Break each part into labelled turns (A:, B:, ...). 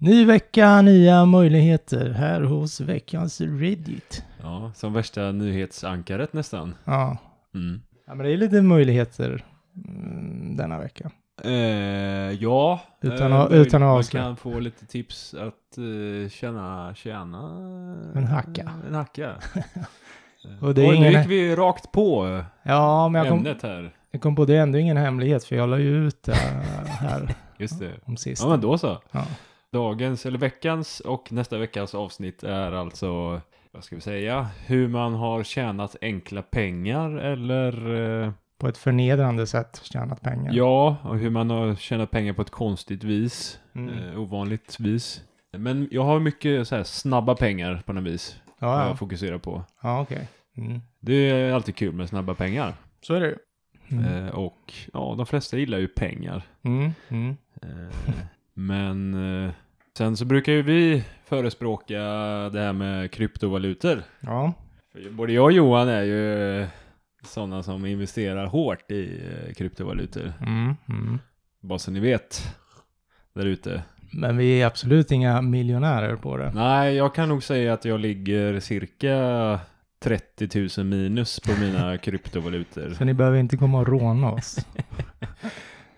A: Ny vecka, nya möjligheter här hos veckans Reddit.
B: Ja, som värsta nyhetsankaret nästan.
A: Ja,
B: Mm.
A: ja men det är lite möjligheter mm, denna vecka.
B: Eh, ja.
A: Utan
B: eh,
A: att-
B: möjligt-
A: utan att
B: Man
A: avslöja.
B: kan få lite tips att eh, tjäna, tjäna...
A: En hacka.
B: En hacka.
A: Och det är
B: Oj, nu
A: ingen-
B: gick vi rakt på
A: Ja, men jag kom,
B: ämnet här.
A: jag kom på det är ändå ingen hemlighet för jag la ju ut det här
B: Just det.
A: om sist.
B: Ja, men då så.
A: Ja.
B: Dagens, eller veckans och nästa veckas avsnitt är alltså, vad ska vi säga, hur man har tjänat enkla pengar eller eh,
A: På ett förnedrande sätt tjänat pengar.
B: ja, och hur man har tjänat pengar på ett konstigt vis,
A: Mm.
B: eh, ovanligt vis. Men jag har mycket så här snabba pengar på något vis,
A: Ja,
B: vad
A: ja.
B: jag fokuserar på.
A: ja okej. Mm.
B: Det är alltid kul med snabba pengar.
A: Så är det ju. Mm.
B: Eh, och ja, de flesta gillar ju pengar.
A: Mm. Mm.
B: Eh, Men eh, sen så brukar ju vi förespråka det här med kryptovalutor.
A: Ja.
B: För Både jag och Johan är ju eh, sådana som investerar hårt i eh, kryptovalutor.
A: Mm. Mm.
B: Bara så ni vet. Där ute.
A: Men vi är absolut inga miljonärer på det.
B: Nej, jag kan nog säga att jag ligger cirka 30 000 minus på mina kryptovalutor.
A: Så ni behöver inte komma och råna oss.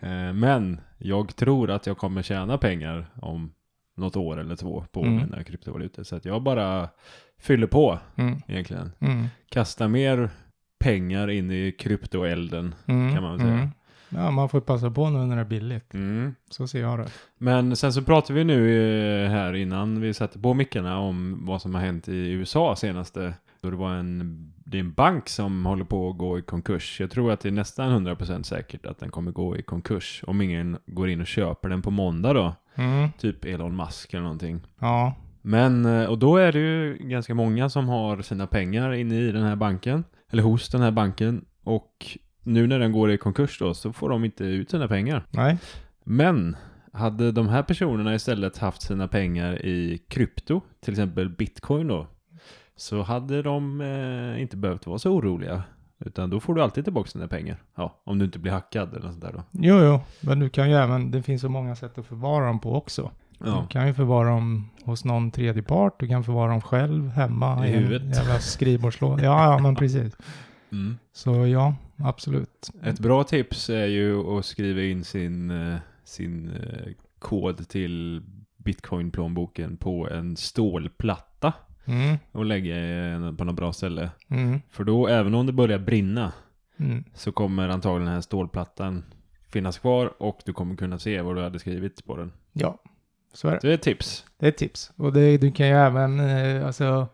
B: Eh, Men jag tror att jag kommer tjäna pengar om något år eller två på
A: Mm.
B: mina kryptovalutor. Så att jag bara fyller på
A: Mm.
B: egentligen.
A: Mm.
B: Kasta mer pengar in i kryptoelden.
A: Mm.
B: Kan man väl säga.
A: Mm. Ja, man får passa på nu när det är billigt.
B: Mm.
A: Så ser jag det.
B: Men sen så pratar vi nu eh, här innan vi satte på mickarna om vad som har hänt i USA senaste. Då det var en, det är en bank som håller på att gå i konkurs. Jag tror att det är nästan 100% säkert att den kommer gå i konkurs. Om ingen går in och köper den på måndag då.
A: Mm.
B: Typ Elon Musk eller någonting.
A: Ja.
B: Men, eh, och då är det ju ganska många som har sina pengar inne i den här banken. Eller hos den här banken. Och nu när den går i konkurs då så får de inte ut sina pengar.
A: Nej.
B: Men hade de här personerna istället haft sina pengar i krypto, till exempel bitcoin då, så hade de eh, inte behövt vara så oroliga. Utan då får du alltid tillbaka dina pengar. Ja, om du inte blir hackad eller något sånt där då.
A: Jo, jo. Men du kan ju även, det finns så många sätt att förvara dem på också. Du
B: Ja,
A: kan ju förvara dem hos någon tredje part. Du kan förvara dem själv hemma.
B: I
A: en
B: huvudet.
A: Jävla skrivbordslåda. Ja, ja, men precis.
B: mm.
A: Så ja, absolut.
B: Ett bra tips är ju att skriva in sin, eh, sin eh, kod till bitcoin-plånboken på en stålplatta
A: Mm,
B: och lägga eh, på något bra ställe.
A: mm,
B: För då, även om det börjar brinna,
A: mm.
B: så kommer antagligen den här stålplattan finnas kvar och du kommer kunna se vad du hade skrivit på den.
A: Ja, så är det.
B: Det är ett tips.
A: Det är ett tips. Och det, du kan ju även, eh, alltså,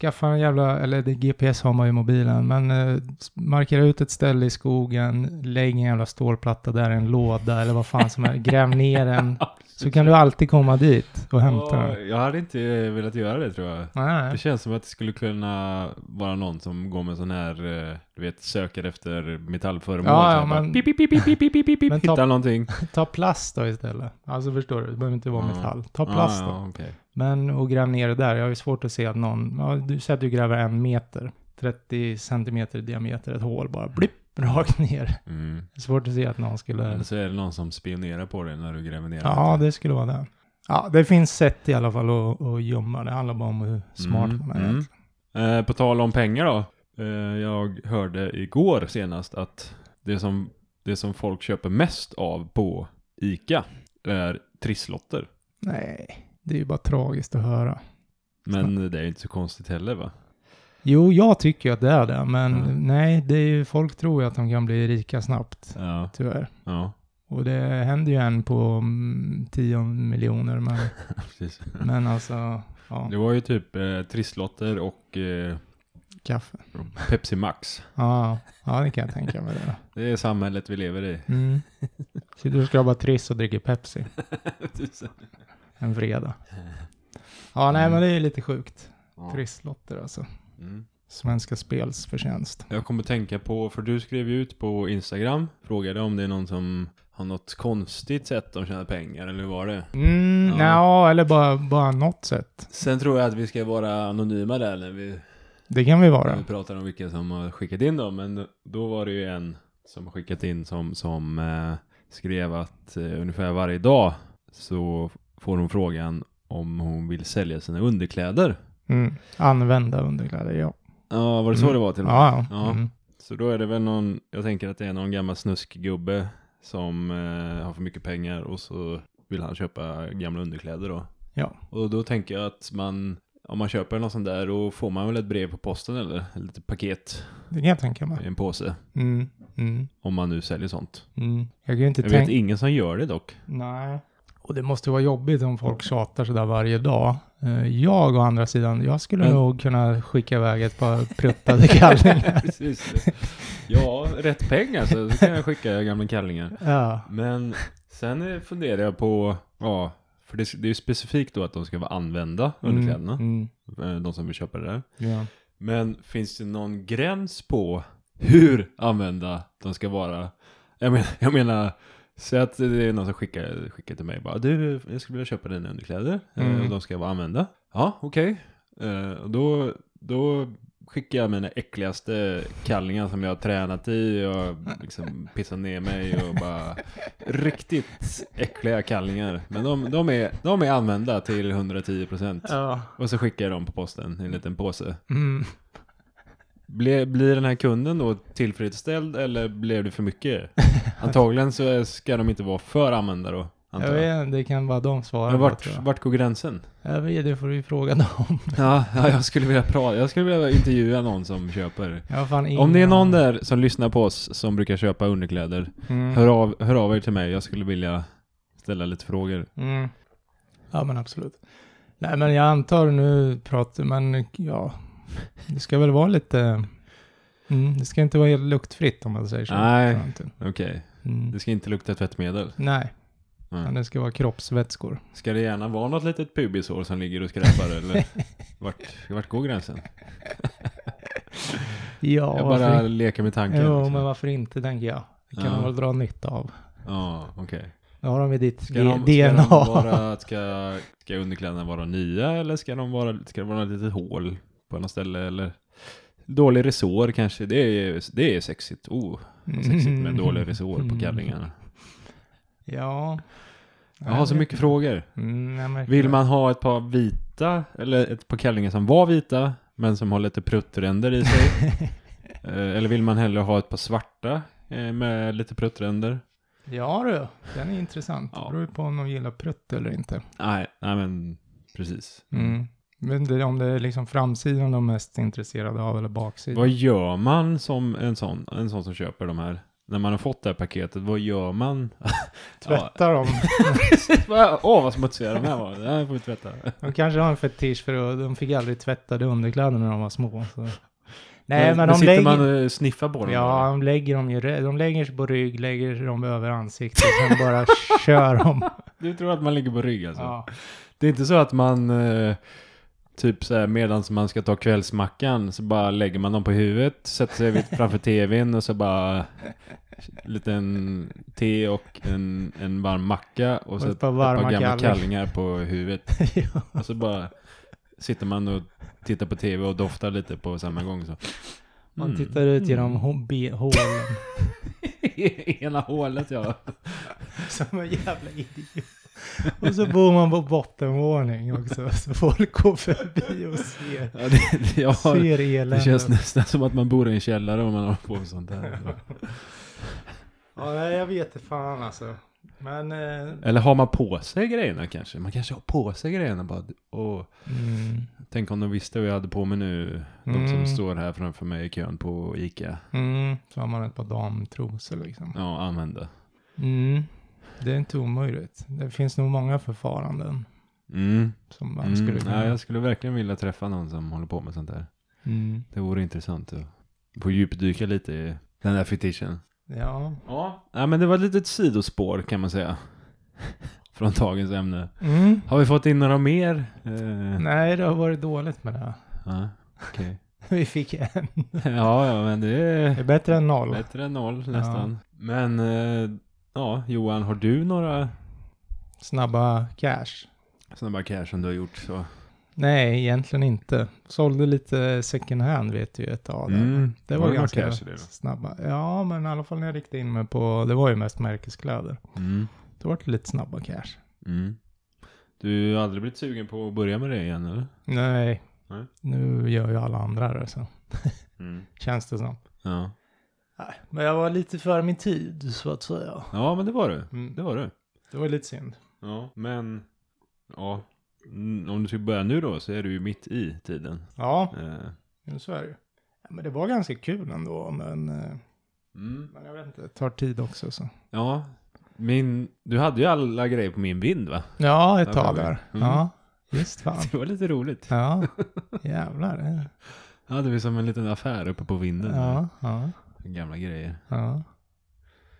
A: skaffa en jävla, eller det, GPS har man ju i mobilen, men eh, markera ut ett ställe i skogen, lägg en jävla stålplatta där, i en låda eller vad fan som helst, gräv ner den. Så kan du alltid komma dit och hämta den.
B: jag hade inte eh, velat göra det tror jag. Det
A: Nej,
B: känns som att det skulle kunna vara någon som går med sån här, eh, du vet, söker efter metallföremål.
A: Ja,
B: så
A: ja,
B: här bara
A: men-
B: pip, pip, pip, pip, pip, pip, pip, pip,
A: Men ta-
B: hittar någonting.
A: ta plast då istället. Alltså förstår du, det behöver inte vara
B: Ja.
A: metall. Ta plast
B: Ah,
A: då.
B: ja, okej.
A: Men och gräv ner det där. Jag har ju svårt att se att någon, ja, du säger att du gräver en meter, 30 centimeter i diameter, ett hål bara, blipp, rakt ner.
B: mm.
A: Det är svårt att se att någon skulle...
B: Eller så är det någon som spionerar på dig när du gräver ner
A: Ja,
B: lite.
A: det skulle vara det. Ja, det finns sätt i alla fall att, att gömma. Det handlar bara om hur smart
B: Mm,
A: man är.
B: mm. Eh, på tal om pengar då. Eh, jag hörde igår senast att det som, det som folk köper mest av på ICA är trisslotter.
A: Nej, det är ju bara tragiskt att höra.
B: Men det är ju inte så konstigt heller va?
A: Jo, jag tycker ju att det är det, men
B: Mm.
A: nej, det är ju, folk tror ju att de kan bli rika snabbt,
B: Ja,
A: tyvärr.
B: ja
A: Och det händer ju en på mm, 10 miljoner, men,
B: precis.
A: men alltså, ja,
B: Det var ju typ eh, trisslotter och eh,
A: kaffe.
B: Pepsi Max.
A: Ja, ja, det kan jag tänka mig. Det.
B: Det är samhället vi lever i.
A: då. Mm. Sitter och skrabbar triss och dricker Pepsi. en fredag. Ja, nej, men det är ju lite sjukt. Trisslotter alltså.
B: Mm.
A: Svenska Spels förtjänst.
B: Jag kommer tänka på, för du skrev ju ut på Instagram, frågade om det är någon som har något konstigt sätt de tjänar pengar, eller hur var det?
A: Mm,
B: Ja.
A: ja. eller bara, bara något sätt.
B: Sen tror jag att vi ska vara anonyma där när vi,
A: Det kan vi
B: när
A: vara.
B: vi pratar om vilka som har skickat in dem, men då var det ju en som har skickat in som, som eh, skrev att eh, ungefär varje dag så får hon frågan om hon vill sälja sina underkläder.
A: Mm. Använda underkläder, ja.
B: Ja, var det så
A: Mm.
B: det var till och med?
A: Ja,
B: Ja.
A: ja. Mm.
B: Så då är det väl någon, jag tänker att det är någon gammal snuskgubbe som eh, har för mycket pengar och så vill han köpa gamla underkläder då.
A: Ja.
B: Och då tänker jag att man, om man köper något sånt där, då får man väl ett brev på posten eller ett litet paket
A: Det kan jag tänka
B: i
A: mig.
B: en påse.
A: Mm. Mm.
B: Om man nu säljer sånt.
A: Mm. Jag kan ju inte
B: Jag vet
A: tänka...
B: ingen som gör det dock.
A: Nej. Och det måste ju vara jobbigt om folk tjatar sådär varje dag. Eh, Jag å andra sidan, jag skulle
B: Men-
A: nog kunna skicka iväg ett par pruttade kallingar.
B: Precis. Ja, rätt pengar så kan jag skicka gamla kallingar.
A: ja.
B: Men sen eh, funderar jag på, ja, för det, det är ju specifikt då att de ska vara använda underkläderna,
A: Mm. Mm.
B: eh, de som vill köpa det där.
A: Ja.
B: Men finns det någon gräns på hur använda de ska vara? Jag menar, jag menar säg att det är någon som skickar, skickar till mig bara, du, jag skulle vilja köpa dina underkläder, eh,
A: Mm.
B: och de ska vara använda. Ja, okej. Eh, och då, då skickar jag mina äckligaste kallingar som jag har tränat i och liksom pissat ner mig och bara riktigt äckliga kallingar. Men de, de, är, de är använda till 110%.
A: ja.
B: Och så skickar jag dem på posten i en liten påse.
A: Mm.
B: Blir, blir den här kunden då tillfredsställd eller blev det för mycket? Antagligen så är- ska de inte vara för använda då,
A: Jag
B: antar jag.
A: vet inte, det kan bara de svara
B: Men
A: på,
B: vart,
A: tror jag.
B: vart går gränsen?
A: Jag vet, det får du ju fråga dem.
B: Ja, ja jag, skulle vilja prata, jag skulle vilja intervjua någon som köper.
A: Jag har fan ingen
B: Om det är någon
A: aning.
B: där som lyssnar på oss som brukar köpa underkläder,
A: Mm.
B: hör av, hör av er till mig. Jag skulle vilja ställa lite frågor.
A: Mm. Ja, men absolut. Nej, men jag antar nu pratar, men ja, det ska väl vara lite, mm, det ska inte vara helt luktfritt om man säger så.
B: Nej.
A: tror jag inte.
B: Okej,
A: Mm.
B: det ska inte lukta tvättmedel.
A: Nej,
B: Nej.
A: utan det ska vara kroppsvätskor.
B: Ska det gärna vara något litet pubisår som ligger och skräpar eller? Vart, vart går gränsen?
A: Ja,
B: Jag bara
A: varför,
B: leker med tanken.
A: jo,
B: liksom.
A: men varför inte, tänker jag. Det kan
B: Ja.
A: de väl dra nytta av.
B: Ja, okej.
A: Nu har de ju ditt
B: Ska, de, ska,
A: DNA.
B: de vara, ska, ska underkläderna vara nya eller ska, de vara, ska det vara ett litet hål på något ställe eller? Dålig resår kanske, det är, det är sexigt. Oh, vad sexigt med
A: Mm.
B: dålig resår på
A: Mm.
B: kallingarna.
A: Ja.
B: Jag har så
A: vet
B: mycket
A: inte.
B: frågor.
A: Mm, jag märker
B: Vill
A: det.
B: man ha ett par vita, eller ett par kallingar som var vita, men som har lite pruttränder i sig? Eh, eller vill man hellre ha ett par svarta eh, med lite pruttränder?
A: Ja du, den är intressant.
B: Ja.
A: Det beror ju på om de gillar prutt eller inte.
B: Nej, nej men precis.
A: Mm. Men det, om det är liksom framsidan de är mest intresserade av eller baksidan.
B: Vad gör man som en sån, en sån som köper de här? När man har fått det här paketet, vad gör man? Alltså,
A: Tvättar de?
B: Vad- Åh, vad smutsiga de här var. Det här får vi tvätta.
A: De kanske har en fetisch för att de fick aldrig tvättade underkläder när de var små. Så. Nej, men, de
B: sitter
A: lägger...
B: man och sniffar på dem?
A: Ja, de lägger dem ju... rä- De lägger sig på rygg, lägger dem över ansiktet, sen bara kör de.
B: eller? Du tror att man ligger på rygg alltså?
A: Ja.
B: Det är inte så att man, eh, typ så här, medans man ska ta kvällsmackan så bara lägger man dem på huvudet, sätter sig vid- framför tvn och så bara liten te och en, en varm macka och så
A: Och
B: ett
A: ett
B: par,
A: par varma
B: gamla
A: kallingar.
B: kallingar på huvudet.
A: ja.
B: Och så bara sitter man och tittar på tv och doftar lite på samma gång. Så.
A: Man
B: Mm.
A: tittar ut genom hå- be- hålen.
B: Ena hålet ja.
A: Som en jävla idiot. Och så bor man på bottenvåning också. Så folk går förbi och ser,
B: ja, det, det, jag har,
A: ser eländet.
B: det känns nästan som att man bor i en källare om man har på med sånt där.
A: Ja, nej, jag vet inte fan alltså. Men... Eh,
B: Eller har man på sig grejerna kanske? Man kanske har på sig grejerna bara. Och,
A: mm,
B: tänk om de visste vad jag hade på mig nu. De som
A: Mm.
B: står här framför mig i kön på Ica.
A: mm, så har man ett par damtrosor liksom.
B: Ja, använda.
A: Mm, det är inte omöjligt. Det finns nog många förfaranden
B: Mm.
A: som man
B: Mm.
A: skulle kunna...
B: Ja, jag skulle verkligen vilja träffa någon som håller på med sånt där.
A: Mm,
B: Det vore intressant att få djupdyka lite i den där fetischen.
A: ja.
B: Ja. ja, men det var ett litet sidospår kan man säga. från dagens ämne.
A: Mm.
B: Har vi fått in några mer? Eh,
A: Nej, det har varit dåligt med det.
B: Ja, okej.
A: Vi fick en.
B: ja, ja, men det
A: Det är
B: är
A: bättre än noll.
B: bättre än noll nästan. Men eh, ja, Johan, har du några
A: Snabba cash.
B: snabba cash som du har gjort? Så?
A: Nej, egentligen inte. Sålde lite second hand vet ju ett tag. där.
B: Mm.
A: Det var,
B: några
A: ganska
B: cash i det då?
A: snabba. Ja, men i alla fall när jag riktade in mig på, det var ju mest märkeskläder.
B: Mm.
A: Då var det lite snabba cash.
B: Mm. Du har aldrig blivit sugen på att börja med det igen eller?
A: Nej,
B: Nej.
A: nu gör ju alla andra det så
B: Mm.
A: känns det som.
B: Ja.
A: Nej, men jag var lite före min tid så att säga.
B: ja, men det var du.
A: Mm.
B: Det var du.
A: Det var lite synd.
B: Ja, men ja. Mm, Om du skulle börja nu då så är du ju mitt i tiden.
A: Ja,
B: Eh,
A: men så är det ju. Ja, men det var ganska kul ändå, men, eh,
B: Mm.
A: men jag vet inte, det tar tid också så.
B: Ja, min, du hade ju alla grejer på min vind va?
A: Ja,
B: Där
A: ett
B: var
A: tag
B: vi.
A: där.
B: Mm.
A: Ja, just fan.
B: Det var lite roligt.
A: Ja, jävlar. det-
B: Det hade vi som en liten affär uppe på vinden.
A: Ja, ja,
B: med Gamla grejer.
A: ja.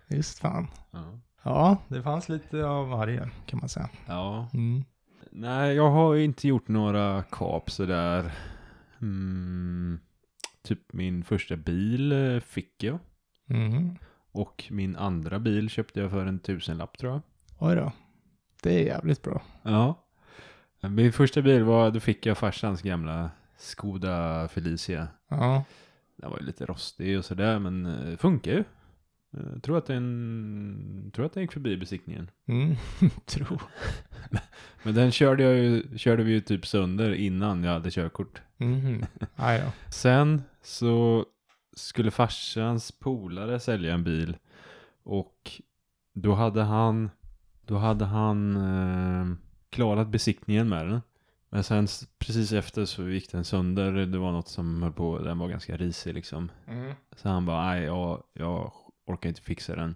A: Just fan.
B: Ja.
A: Ja, det fanns lite av varje kan man säga.
B: ja.
A: Mm.
B: Nej, jag har ju inte gjort några kap sådär. Mm. Typ min första bil eh, fick jag.
A: Mhm.
B: Och min andra bil köpte jag för en tusenlapp tror jag.
A: Oj då. Det är jävligt bra.
B: Ja. Min första bil var, då fick jag farsans gamla Skoda Felicia.
A: Ja,
B: Den var ju lite rostig och sådär, men eh, funkar ju. Eh, tror att den, tror att den gick förbi besiktningen.
A: mm. tro.
B: Men den körde, jag ju, körde vi ju typ sönder innan jag hade körkort.
A: Mhm. Aj då.
B: Sen så skulle farsans polare sälja en bil. Och då hade han, då hade han eh, klarat besiktningen med den. Men sen s- precis efter så gick den sönder. Det var något som höll på, den var ganska risig liksom.
A: Mm.
B: Så han bara, nej jag, jag orkar inte fixa den.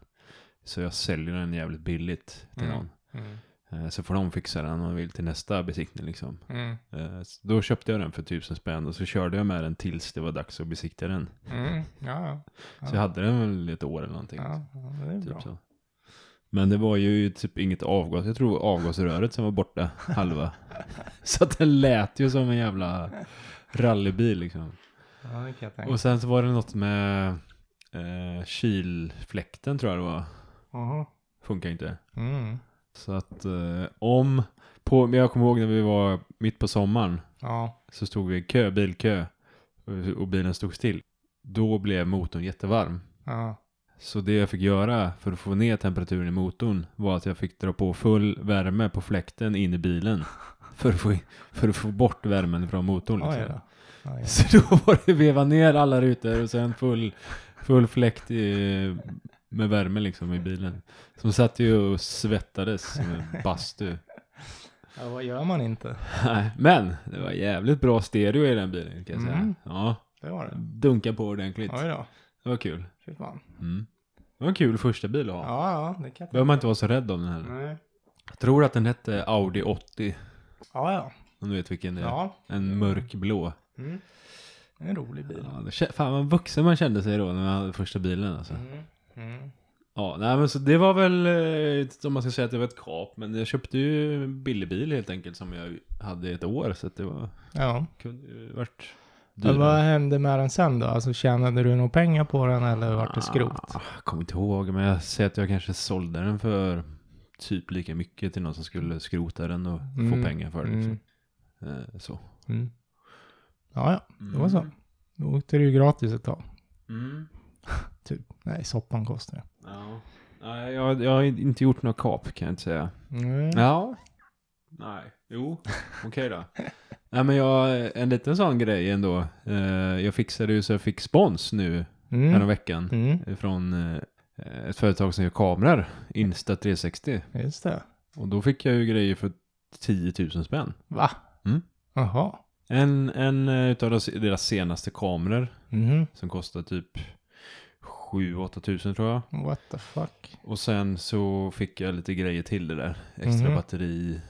B: Så jag säljer den jävligt billigt till
A: Mm.
B: någon. Eh, Så får de fixa den om de vill till nästa besiktning liksom.
A: Mm.
B: Eh, så Då köpte jag den för tusen spänn och så körde jag med den tills det var dags att besikta den.
A: Mm. Ja, ja.
B: Så jag hade den väl ett år eller någonting.
A: ja, ja, det är bra.
B: typ så. Men det var ju typ inget avgas. Jag tror avgasröret som var borta halva. så att den lät ju som en jävla rallybil liksom.
A: Ja, det kan jag tänka.
B: Och sen så var det något med eh, kylfläkten tror jag det var.
A: Jaha.
B: Funkar inte.
A: Mm.
B: Så att eh, om, på, men jag kommer ihåg när vi var mitt på sommaren
A: Ja,
B: så stod vi i kö, bilkö och- och bilen stod still. Då blev motorn jättevarm.
A: ja.
B: Så det jag fick göra för att få ner temperaturen i motorn var att jag fick dra på full värme på fläkten in i bilen. För att få, för att få bort värmen från motorn.
A: Oj
B: Liksom.
A: då. Aj, aj.
B: Så då var det veva ner alla rutor och sen full, full fläkt i, med värme liksom i bilen. Som satt ju och svettades som en bastu.
A: Ja, vad gör man inte?
B: Nej, Men det var jävligt bra stereo i den bilen kan jag säga.
A: Mm.
B: Ja,
A: Det var det.
B: dunka på ordentligt.
A: Oj då.
B: Det var kul.
A: Fy fan.
B: Mm. Det var en kul första bil att ha.
A: Ja, Mm. ja, det kan jag
B: Behöver man inte vara så rädd om den heller.
A: Nej.
B: Jag tror att den hette Audi 80.
A: Ja, ja.
B: Om du vet vilken det är.
A: Ja.
B: En mörkblå.
A: Mm. Det är En rolig
B: Ja,
A: bil.
B: det kä- fan vad vuxen man kände sig då när man hade första bilen alltså.
A: Mm. Mm.
B: Ja, nej men så det var väl, eh, om man ska säga att det var ett kap, men jag köpte ju en billig bil helt enkelt som jag hade i ett år. Så att det var,
A: Ja.
B: kunde ju varit
A: Men vad
B: dyrare.
A: hände med den sen då? Alltså tjänade du några pengar på den eller vart det skrot?
B: Ah, jag kommer inte ihåg, men jag säger att jag kanske sålde den för typ lika mycket till någon som skulle skrota den och
A: Mm,
B: få pengar för det.
A: mm.
B: Liksom. Eh, så.
A: Mm. Ja, ja, det var så. Då åkte du ju gratis ett tag.
B: Mm.
A: Nej, soppan kostar det.
B: Ja. Nej, jag, jag har inte gjort något kap kan jag inte säga.
A: Mm.
B: Ja. Nej. Jo. Okej då. Nej men jag, en liten sån grej ändå. Eh, Jag fixade ju så jag fick spons nu
A: Mm.
B: häromveckan.
A: Mm.
B: Från eh, ett företag som gör kameror. Insta360.
A: Just det.
B: Och då fick jag ju grejer för 10 000 spänn.
A: Va?
B: Mm.
A: Jaha.
B: En, en eh, utav deras- deras senaste kameror.
A: Mhm.
B: Som kostar typ 7-8 tusen tror jag.
A: What the fuck.
B: Och sen så fick jag lite grejer till det där. Extra
A: Mhm.
B: batteri,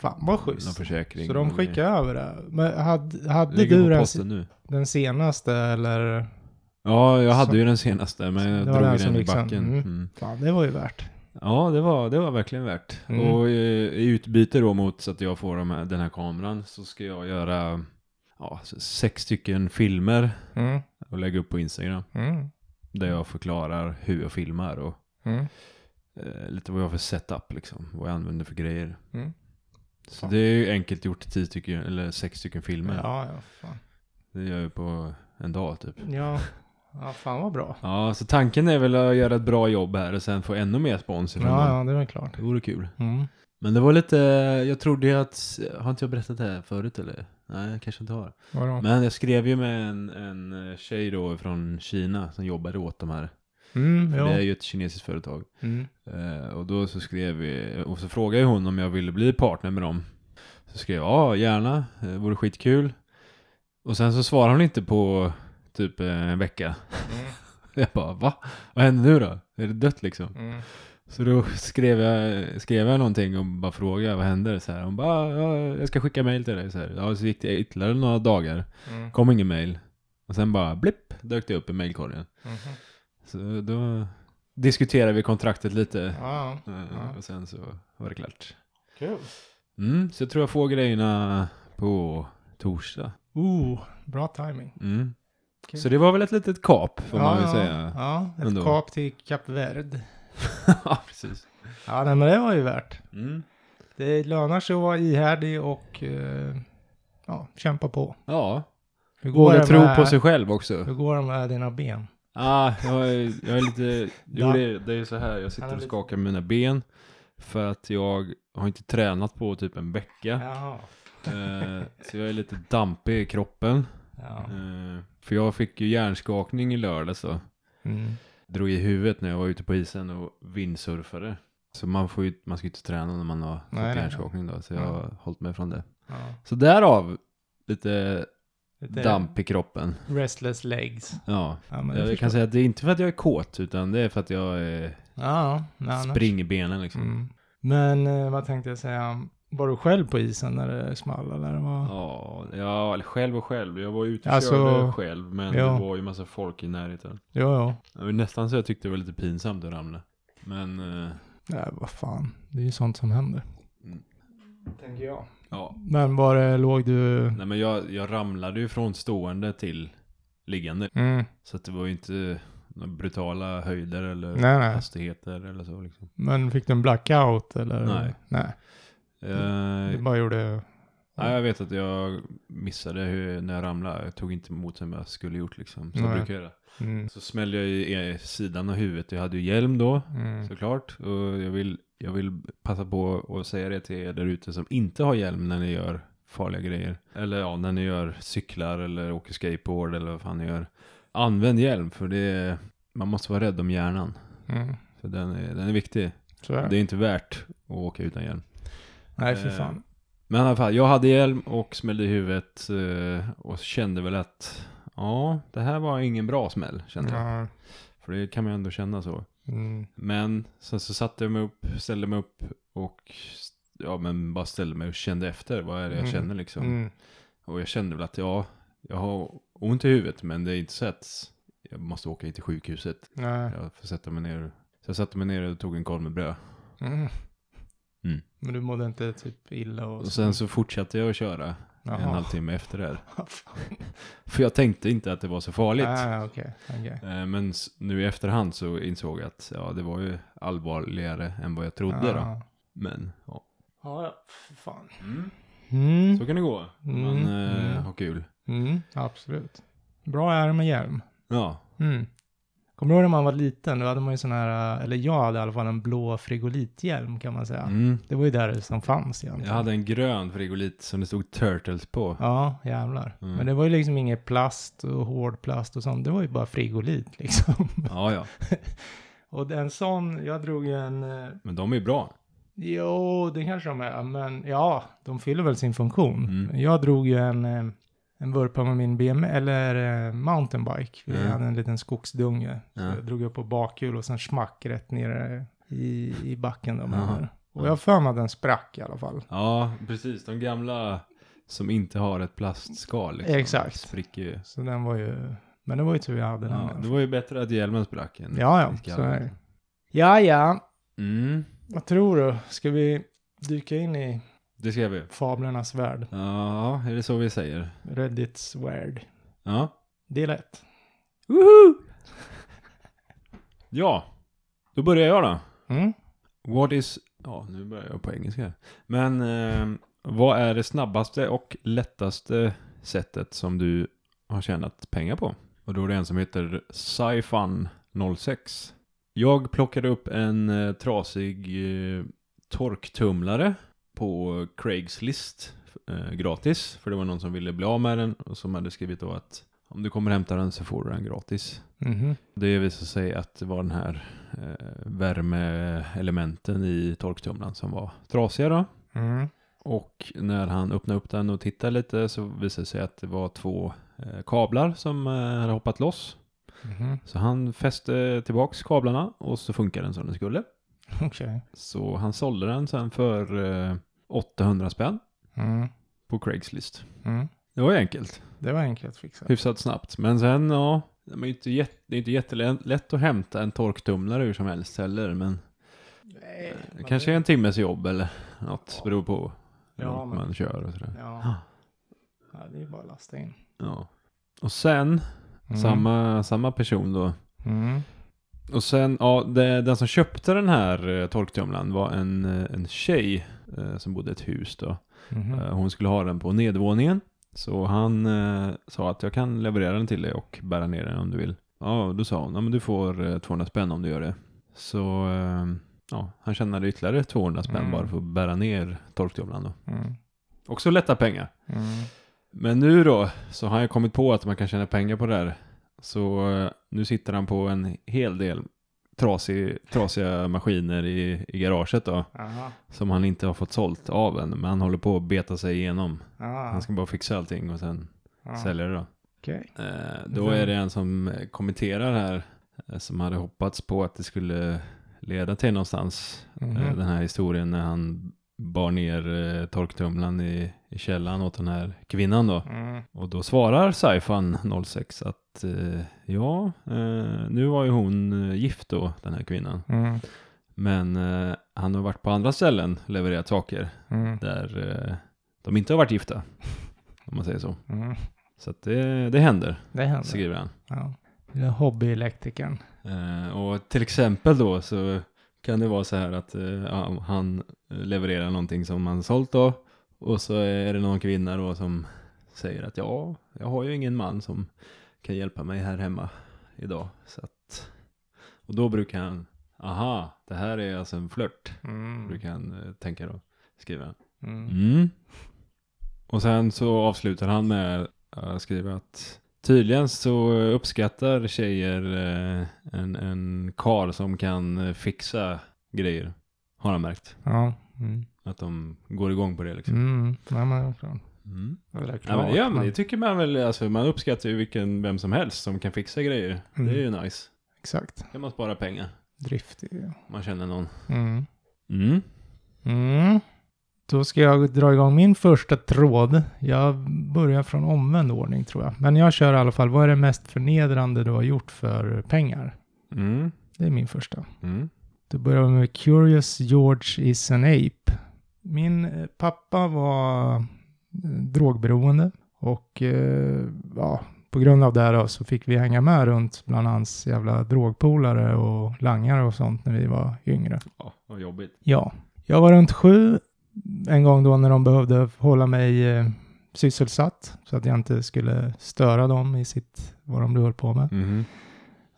A: Fan vad
B: någon
A: schysst.
B: försäkring.
A: Så de
B: och grejer.
A: skickar över det. Men hade, hade
B: Ligger
A: du
B: på
A: den,
B: posten nu.
A: den senaste eller?
B: Ja, jag hade
A: Så-
B: ju den senaste men jag
A: Det var
B: drog
A: den
B: den,
A: som
B: i
A: gick
B: backen.
A: sen. Mm.
B: Mm.
A: Fan det var ju värt.
B: Ja, det var, det var verkligen värt.
A: Mm.
B: Och eh, i utbyte då mot så att jag får de här, den här kameran så ska jag göra ja, så sex stycken filmer
A: Mm,
B: och lägga upp på Instagram.
A: mm,
B: Där jag förklarar hur jag filmar och
A: mm,
B: eh, lite vad jag har för setup liksom. Vad jag använder för grejer.
A: mm.
B: Så
A: Fan.
B: det är ju enkelt gjort tio stycken, eller sex stycken filmer.
A: Ja, ja, fan.
B: Det gör jag ju på en dag typ.
A: Ja, ja fan vad bra.
B: Ja, så tanken är väl att göra ett bra jobb här och sen få ännu mer spons ifrån
A: Ja,
B: dem.
A: ja, det var klart.
B: Det vore kul.
A: Mm.
B: Men det var lite, jag trodde ju att, har inte jag berättat det här förut eller? Nej, jag kanske inte har.
A: Vadå?
B: Men jag skrev ju med en, en tjej då från Kina som jobbade åt de här.
A: Mm,
B: Det är
A: ja.
B: ju ett kinesiskt företag.
A: Mm.
B: Eh, och då så skrev vi, och så frågade hon om jag ville bli partner med dem. Så skrev jag, ja gärna, det vore skitkul. Och sen så svarade hon inte på typ eh, en vecka.
A: Mm.
B: Jag bara, va? Vad händer nu då? Är det dött liksom?
A: Mm.
B: Så då skrev jag, skrev jag någonting och bara frågade vad händer? Så här, hon bara, ja, jag ska skicka mail till dig. Så, här. Ja, så gick det ytterligare några dagar.
A: Mm.
B: Kom ingen mail. Och sen bara blipp dök det upp i mailkorgen.
A: Mhm.
B: Så då diskuterade vi kontraktet lite.
A: Ja, ja.
B: Eh,
A: Ja.
B: Och sen så var det klart.
A: Kul.
B: Mm, så jag tror jag får grejerna på torsdag.
A: Ooh, Uh, bra timing.
B: Mm.
A: Kul.
B: Så det var väl ett litet kap får man väl
A: ja,
B: säga.
A: Ja, ett
B: Ändå.
A: kap till Kap Verde.
B: ja, precis.
A: Ja, nej, men det var ju värt.
B: Mm.
A: Det lönar sig att vara ihärdig och eh, ja, kämpa på.
B: Ja,
A: Hur går,
B: våga
A: det
B: tro
A: med,
B: på sig själv också.
A: hur går det med dina ben?
B: Ah, jag, är, jag är lite... Jo,
A: Ja.
B: det, är- det är så här, jag
A: Han
B: sitter
A: är
B: och
A: lite-
B: skakar med mina ben. För att jag har inte tränat på typ en vecka.
A: Jaha.
B: Eh, så jag är lite dampig i kroppen.
A: Ja.
B: Eh, för jag fick ju hjärnskakning i lördags då.
A: Mm.
B: Drog i huvudet när jag var ute på isen och vindsurfade. Så man, får ju, man ska ju inte träna när man har fått
A: Nej, Mm. nej, nej.
B: hjärnskakning då. Så jag
A: Ja.
B: har hållit mig från det.
A: Ja.
B: Så därav lite
A: Lite
B: damp i kroppen.
A: Restless legs.
B: Ja.
A: Ja, men det
B: Jag
A: förstår
B: kan säga att det är inte för att jag är kåt, utan det är för att jag är
A: Ja, men annars-
B: Spring i benen liksom.
A: Mm. Men eh, vad tänkte jag säga? Var du själv på isen när det small eller? Vad?
B: Ja, ja, eller själv och själv. Jag var ute och
A: Mm. Alltså,
B: körde själv, men
A: ja.
B: det var ju massa folk i närheten.
A: Jo, jo.
B: Det var nästan så jag tyckte det var lite pinsamt att ramla. Men, eh,
A: Nej, vad fan. Det är ju sånt som händer.
B: Mm.
A: Tänker jag.
B: ja.
A: Men var det, låg du...
B: Nej men jag, jag ramlade ju från stående till liggande.
A: Mm.
B: Så att det var ju inte några brutala höjder eller
A: Nej, nej.
B: hastigheter eller så liksom.
A: Men fick du en blackout eller?
B: Nej.
A: Nej.
B: Eh,
A: Du bara gjorde...
B: nej, jag vet att jag missade hur, när jag ramlade. Jag tog inte emot som jag skulle gjort liksom. Så jag
A: Nej.
B: brukar göra.
A: Mm.
B: Så smällde jag i eh, sidan av huvudet. Jag hade ju hjälm då.
A: Mm.
B: Såklart. Och jag vill, jag vill passa på att säga det till er där ute som inte har hjälm när ni gör farliga grejer. Eller ja, när ni gör cyklar eller åker skateboard eller vad fan ni gör. Använd hjälm för det är, man måste vara rädd om hjärnan.
A: Mm.
B: För den är, den är viktig.
A: Så är
B: Det
A: det.
B: är inte värt att åka utan hjälm.
A: Nej, för
B: eh,
A: fan.
B: Men i alla fall, jag hade hjälm och smällde i huvudet eh, och kände väl att ja, det här var ingen bra smäll kände jag.
A: Ja.
B: För det kan man ju ändå känna så.
A: Mm.
B: Men sen så satte jag mig upp, ställde mig upp och ja, men bara ställde mig och kände efter. Vad är det jag
A: Mm.
B: känner liksom?
A: Mm.
B: Och jag kände väl att ja, jag har ont i huvudet men det är inte så att jag måste åka in till sjukhuset.
A: Nej.
B: Jag får sätta mig ner. Så jag satte mig ner och tog en korv med bröd.
A: Mm.
B: Mm.
A: Men du mådde inte typ illa och,
B: Och sen så fortsatte jag att köra en
A: Jaha.
B: halvtimme efter det här.
A: Fan.
B: För jag tänkte inte att det var så farligt.
A: Ah, okej. Okej.
B: Eh, Men s- nu i efterhand så insåg jag att ja, det var ju allvarligare än vad jag trodde då.
A: Ja.
B: Men ja.
A: Ja, ja. För fan.
B: Mm.
A: Mm.
B: Så kan det gå.
A: Mm.
B: Man eh,
A: Mm.
B: har kul.
A: Mm. Absolut. Bra är det med hjälm.
B: Ja.
A: Mm. Kommer du ihåg när man var liten? Då hade man ju sån här, eh, eller jag hade i alla fall en blå frigolithjälm kan man säga.
B: Mm.
A: Det var ju där det som fanns
B: Jag
A: egentligen.
B: hade en grön frigolit som det stod Turtles på.
A: Ja, jävlar.
B: Mm.
A: Men det var ju liksom inget plast och hård plast och sånt. Det var ju bara frigolit liksom.
B: Ja, ja.
A: Och en sån, jag drog ju en... eh,
B: Men de är bra.
A: Jo, det kanske de är. Men ja, de fyller väl sin funktion.
B: Mm.
A: Jag drog ju en, eh, en vurpa med min BM, eller eh, mountainbike. Vi
B: Mm.
A: hade en liten skogsdunge. Så
B: Ja.
A: jag drog upp på bakhjul och sen smack rätt ner eh, i, i backen. Där man
B: Jaha.
A: är. och jag har för mig att den sprack i alla fall.
B: Ja, precis. De gamla som inte har ett plastskal. Liksom.
A: Exakt.
B: Spricker ju.
A: Så den var ju... Men det var ju tur jag hade den.
B: Ja,
A: med.
B: det var ju bättre att hjälmen sprack än
A: Ja, ja,
B: skallen.
A: så är det. Ja, ja.
B: Mm,
A: Vad tror du? Ska vi dyka in i
B: det ska vi.
A: fablernas värld?
B: Ja, är det så vi säger?
A: Reddits värld.
B: Ja.
A: Del 1.
B: Ja, då börjar jag då.
A: Mm?
B: What is... Ja, nu börjar jag på engelska. här. Men eh, vad är det snabbaste och lättaste sättet som du har tjänat pengar på? Och då är det en som heter Sci-Fun06. Jag plockade upp en eh, trasig eh, torktumlare på Craigslist eh, gratis. För det var någon som ville bli av med den och som hade skrivit då att om du kommer hämta den så får du den gratis.
A: Mhm.
B: Det visade sig att det var den här eh, värmeelementen i torktumlaren som var trasiga då.
A: Mm.
B: Och när han öppnade upp den och tittade lite så visade det sig att det var två eh, kablar som eh, hade hoppat loss.
A: Mhm.
B: Så han fäste tillbaks kablarna och så funkade den som den skulle.
A: Okej.
B: Så han sålde den sen för eh, 800 spänn
A: Mm.
B: på Craigslist.
A: Mm.
B: Det var ju enkelt.
A: Det var enkelt fixat.
B: Hyfsat snabbt. Men sen, ja. Det är ju inte, jätt, det är inte jättelätt att hämta en torktumlare hur som helst heller. Men
A: Nej,
B: Det
A: men
B: Eh, kanske är en timmes jobb eller något,
A: Ja.
B: beror på hur
A: Ja,
B: långt
A: men-
B: man kör och sådär.
A: Ja. ja, det är bara att lasta in.
B: Ja. Och sen,
A: Mm.
B: samma, samma person då.
A: Mm.
B: Och sen, ja, det, den som köpte den här eh, torktumlaren var en, eh, en tjej eh, som bodde i ett hus då.
A: Mhm.
B: Eh, hon skulle ha den på nedervåningen. Så han eh, sa att jag kan leverera den till dig och bära ner den om du vill. Ja, då sa hon, ja men du får eh, 200 spänn om du gör det. Så, eh, ja, han tjänade ytterligare 200 spänn
A: Mm.
B: bara för att bära ner torktumlaren då.
A: Mm.
B: Också lätta pengar.
A: Mm.
B: Men nu då, så har jag kommit på att man kan tjäna pengar på det här. Så eh, nu sitter han på en hel del trasig, trasiga maskiner i, i garaget då.
A: Aha.
B: Som han inte har fått sålt av än, men han håller på att beta sig igenom.
A: Ah.
B: Han ska bara fixa allting och sen
A: ah.
B: sälja det då.
A: Okej.
B: Eh, Då är det en som eh, kommenterar här, eh, som hade hoppats på att det skulle leda till någonstans
A: Mhm.
B: eh, den här historien när han bar ner eh, torktumlaren i, i källan åt den här kvinnan då.
A: Mm.
B: Och då svarar Saifan 06 att eh, ja, eh, nu var ju hon eh, gift då, den här kvinnan.
A: Mm.
B: Men eh, han har varit på andra ställen och levererat saker
A: Mm.
B: där eh, de inte har varit gifta. Om man säger så.
A: Mm.
B: Så att det, det händer,
A: Det händer.
B: skriver han.
A: Ja. Lilla hobbyelektrikern.
B: Eh, och till exempel då så kan det vara så här att eh, ja, han levererar någonting som han sålt då. Och så är det någon kvinna då som säger att ja, jag har ju ingen man som kan hjälpa mig här hemma idag. Så att, och då brukar han, aha, det här är alltså en flört,
A: Mm.
B: brukar han eh, tänka då, skriver han.
A: Mm.
B: Mm. Och sen så avslutar han med att skriva att tydligen så uppskattar tjejer eh, en, en kar som kan eh, fixa grejer. Har han märkt.
A: Ja. Mm.
B: Att de går igång på det liksom.
A: Mm. Nej, men det är klart.
B: Mm.
A: Det är väl
B: Ja, men det
A: klart,
B: gör man.
A: men-
B: Det tycker man väl. Alltså, man uppskattar ju vilken, vem som helst som kan fixa grejer.
A: Mm.
B: Det är ju nice.
A: Exakt.
B: kan man spara pengar.
A: Driftig. ja.
B: Man känner någon.
A: Mm.
B: Mm.
A: Mm. Då ska jag dra igång min första tråd. Jag börjar från omvänd ordning tror jag. Men jag kör i alla fall. Vad är det mest förnedrande du har gjort för pengar?
B: Mm.
A: Det är min första.
B: Mm.
A: Då börjar vi med Curious George is an ape. Min eh, pappa var eh, drogberoende och eh, ja, på grund av det här då så fick vi hänga med runt bland hans jävla drogpolare och langare och sånt när vi var yngre.
B: Ja, vad jobbigt.
A: Ja, jag var runt sju en gång då när de behövde hålla mig eh, sysselsatt så att jag inte skulle störa dem i sitt, vad de nu höll på med.
B: Mm.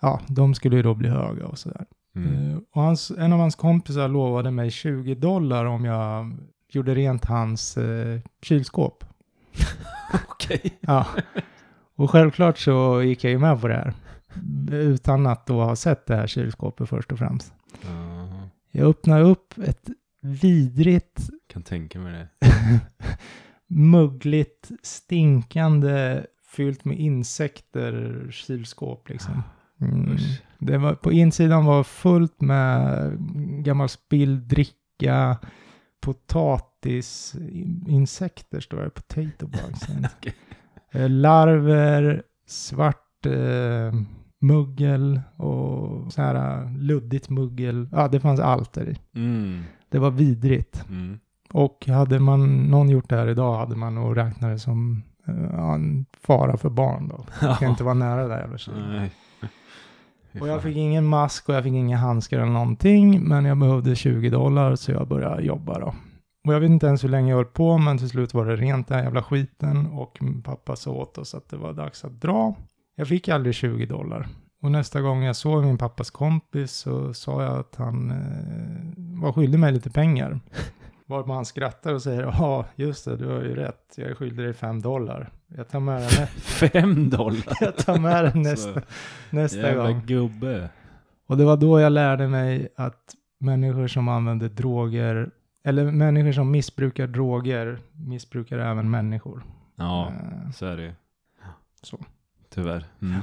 A: Ja, de skulle ju då bli höga och sådär.
B: Mm.
A: Eh, Och hans, en av hans kompisar lovade mig 20 dollar om jag gjorde rent hans eh, kylskåp.
B: Okej.
A: Ja. Och självklart så gick jag ju med på det här. Utan att då ha sett det här kylskåpet först och främst.
B: Ja,
A: Jag öppnade upp ett vidrigt,
B: kan tänka mig det.
A: mögligt, stinkande, fyllt med insekter kylskåp liksom. Mm.
B: Usch.
A: Det var, på insidan var fullt med gammal spilld dricka, potatis, in- insekter står det, potato bugs.
B: Okej.
A: Eh, Larver, svart eh, muggel och så här eh, luddigt muggel. Ja, det fanns allt där i.
B: Mm.
A: Det var vidrigt.
B: Mm.
A: Och hade man någon gjort det här idag hade man nog räknat det som eh, ja, en fara för barn då. Kan inte vara nära där jävla tjejen.
B: Nej. Fy
A: Och jag
B: fan.
A: fick ingen mask och jag fick inga handskar eller någonting. Men jag behövde 20 dollar så jag började jobba då. Och jag vet inte ens hur länge jag höll på men till slut var det rent den här jävla skiten. Och min pappa sa åt oss att det var dags att dra. Jag fick aldrig 20 dollar. Och nästa gång jag såg min pappas kompis så sa jag att han eh, var skyldig mig lite pengar. Varpå han skrattar och säger ja just det du har ju rätt. Jag är skyldig dig 5 dollar. Jag tar med den, nä-
B: Fem dollar.
A: jag tar med den nästa,
B: Så,
A: nästa
B: Alltså, jävla
A: gång.
B: gubbe.
A: Och det var då jag lärde mig att människor som använder droger, eller människor som missbrukar droger, missbrukar även människor.
B: Ja,
A: Eh,
B: så är det ju.
A: Så.
B: Tyvärr. Mm.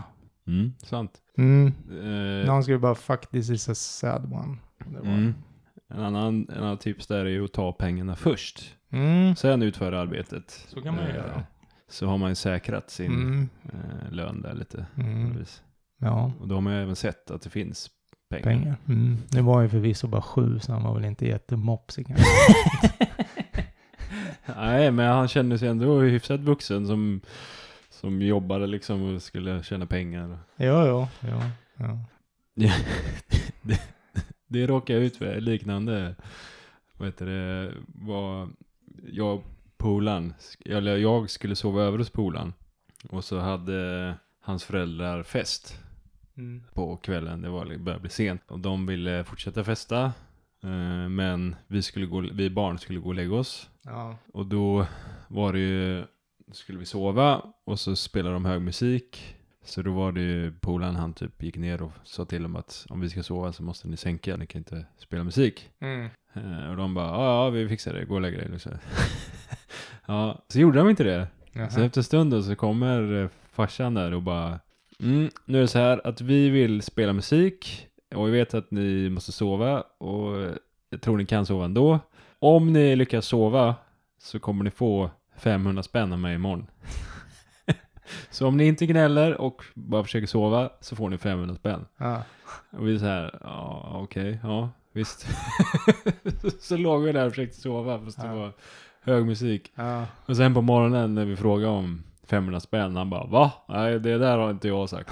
B: Mm, sant.
A: Mm.
B: Eh,
A: Någon skrev bara fuck this is a sad one. Och Det var, mm.
B: mm. En annan, en annan tips där är ju att ta pengarna först.
A: Mm.
B: Sen utföra arbetet.
A: Så kan man ju
B: Eh,
A: göra.
B: Så har man ju säkrat sin
A: Mm.
B: eh, lön där lite. på något
A: Mm.
B: vis.
A: Ja,
B: Och då har man ju även sett att det finns pengar.
A: pengar. Mm. Det var ju förvisso bara sju, så han var väl inte jättemopsig kanske.
B: Nej, men han kände sig ändå hyfsat vuxen som, som jobbade liksom och skulle tjäna pengar.
A: jo, jo, jo. Ja.
B: det, det råkade jag ut för liknande. Vad heter det? Var jag och polaren, eller jag skulle sova över hos polaren. Och så hade hans föräldrar fest
A: Mm.
B: på kvällen. Det var, det började bli sent. Och de ville fortsätta festa. eh, Men vi, skulle gå, vi barn skulle gå och lägga oss.
A: ja.
B: Och då var det ju, skulle vi sova och så spelade de hög musik. Så då var det ju polaren han typ gick ner och sa till dem att om vi ska sova så måste ni sänka, ni kan inte spela musik.
A: Mm.
B: Eh, Och de bara, ja ja vi fixar det, gå och lägg dig. Liksom. ja, så gjorde de inte det. Så
A: Jaha.
B: Alltså, efter stunden så kommer eh, farsan där och bara, mm, nu är det så här att vi vill spela musik och vi vet att ni måste sova och eh, jag tror ni kan sova ändå. Om ni lyckas sova så kommer ni få 500 spänn av mig imorgon. så om ni inte gnäller och bara försöker sova så får ni 500 spänn.
A: Ja.
B: Och vi är så här, ja okej, ja visst. så låg vi där och försökte sova fast det
A: Ja.
B: var hög musik.
A: Ja.
B: Och sen på morgonen när vi frågade om 500 spänn, han bara va? Nej, det där har inte jag sagt.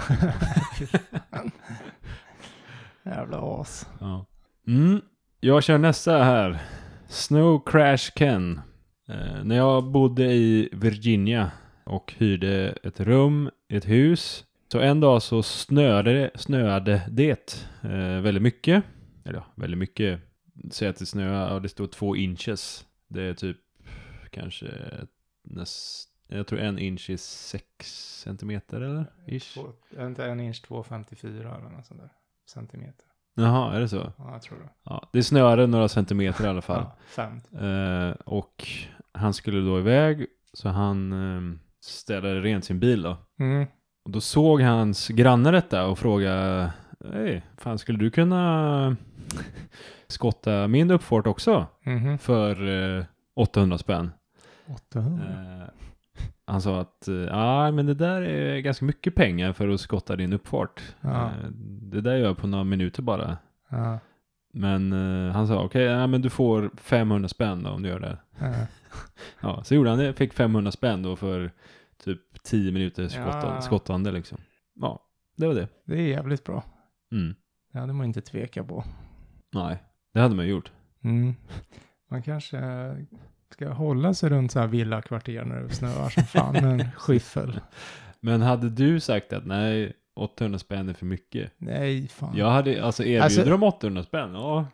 A: Jävla as.
B: Ja. Mm. Jag kör nästa här. Snow Crash Ken. Eh, när jag bodde i Virginia och hyrde ett rum i ett hus. Så en dag så snöade det, snöade det eh, väldigt mycket. Eller ja, väldigt mycket. Säg att det snöade, ja, det stod två inches. Det är typ kanske näst, jag tror en inch är sex centimeter eller? Ish.
A: Två, inte en inch 2,54 eller något sånt där. Centimeter.
B: Jaha, är det så?
A: Ja, jag tror det.
B: Ja, det snöade några centimeter i alla fall.
A: Ja, fem.
B: Eh, och han skulle då iväg, så han eh, städade rent sin bil då.
A: Mm.
B: Och då såg hans granne detta och frågade, hej, fan skulle du kunna skotta min uppfart också
A: Mhm.
B: för eh, 800 spänn?
A: 800.
B: Eh, han sa att, eh, ja men det där är ganska mycket pengar för att skotta din uppfart.
A: Ja.
B: Eh, det där gör jag på några minuter bara.
A: Ja.
B: Men eh, han sa, okej, ja, men du får 500 spänn då om du gör det.
A: Ja.
B: Ja, så gjorde han det. Fick 500 spänn då för typ 10 minuter skottande,
A: Ja.
B: skottande liksom. Ja, det var det.
A: Det är jävligt bra.
B: Mm.
A: Det hade man inte tveka på.
B: Nej, det hade man ju gjort.
A: Mm. Man kanske eh, ska hålla sig runt så här villakvarter när det snöar som fan med en skyffel.
B: Men hade du sagt att nej, 800 spänn är för mycket.
A: Nej, fan.
B: Jag hade, alltså erbjuder
A: Alltså-
B: de 800 spänn? Ja,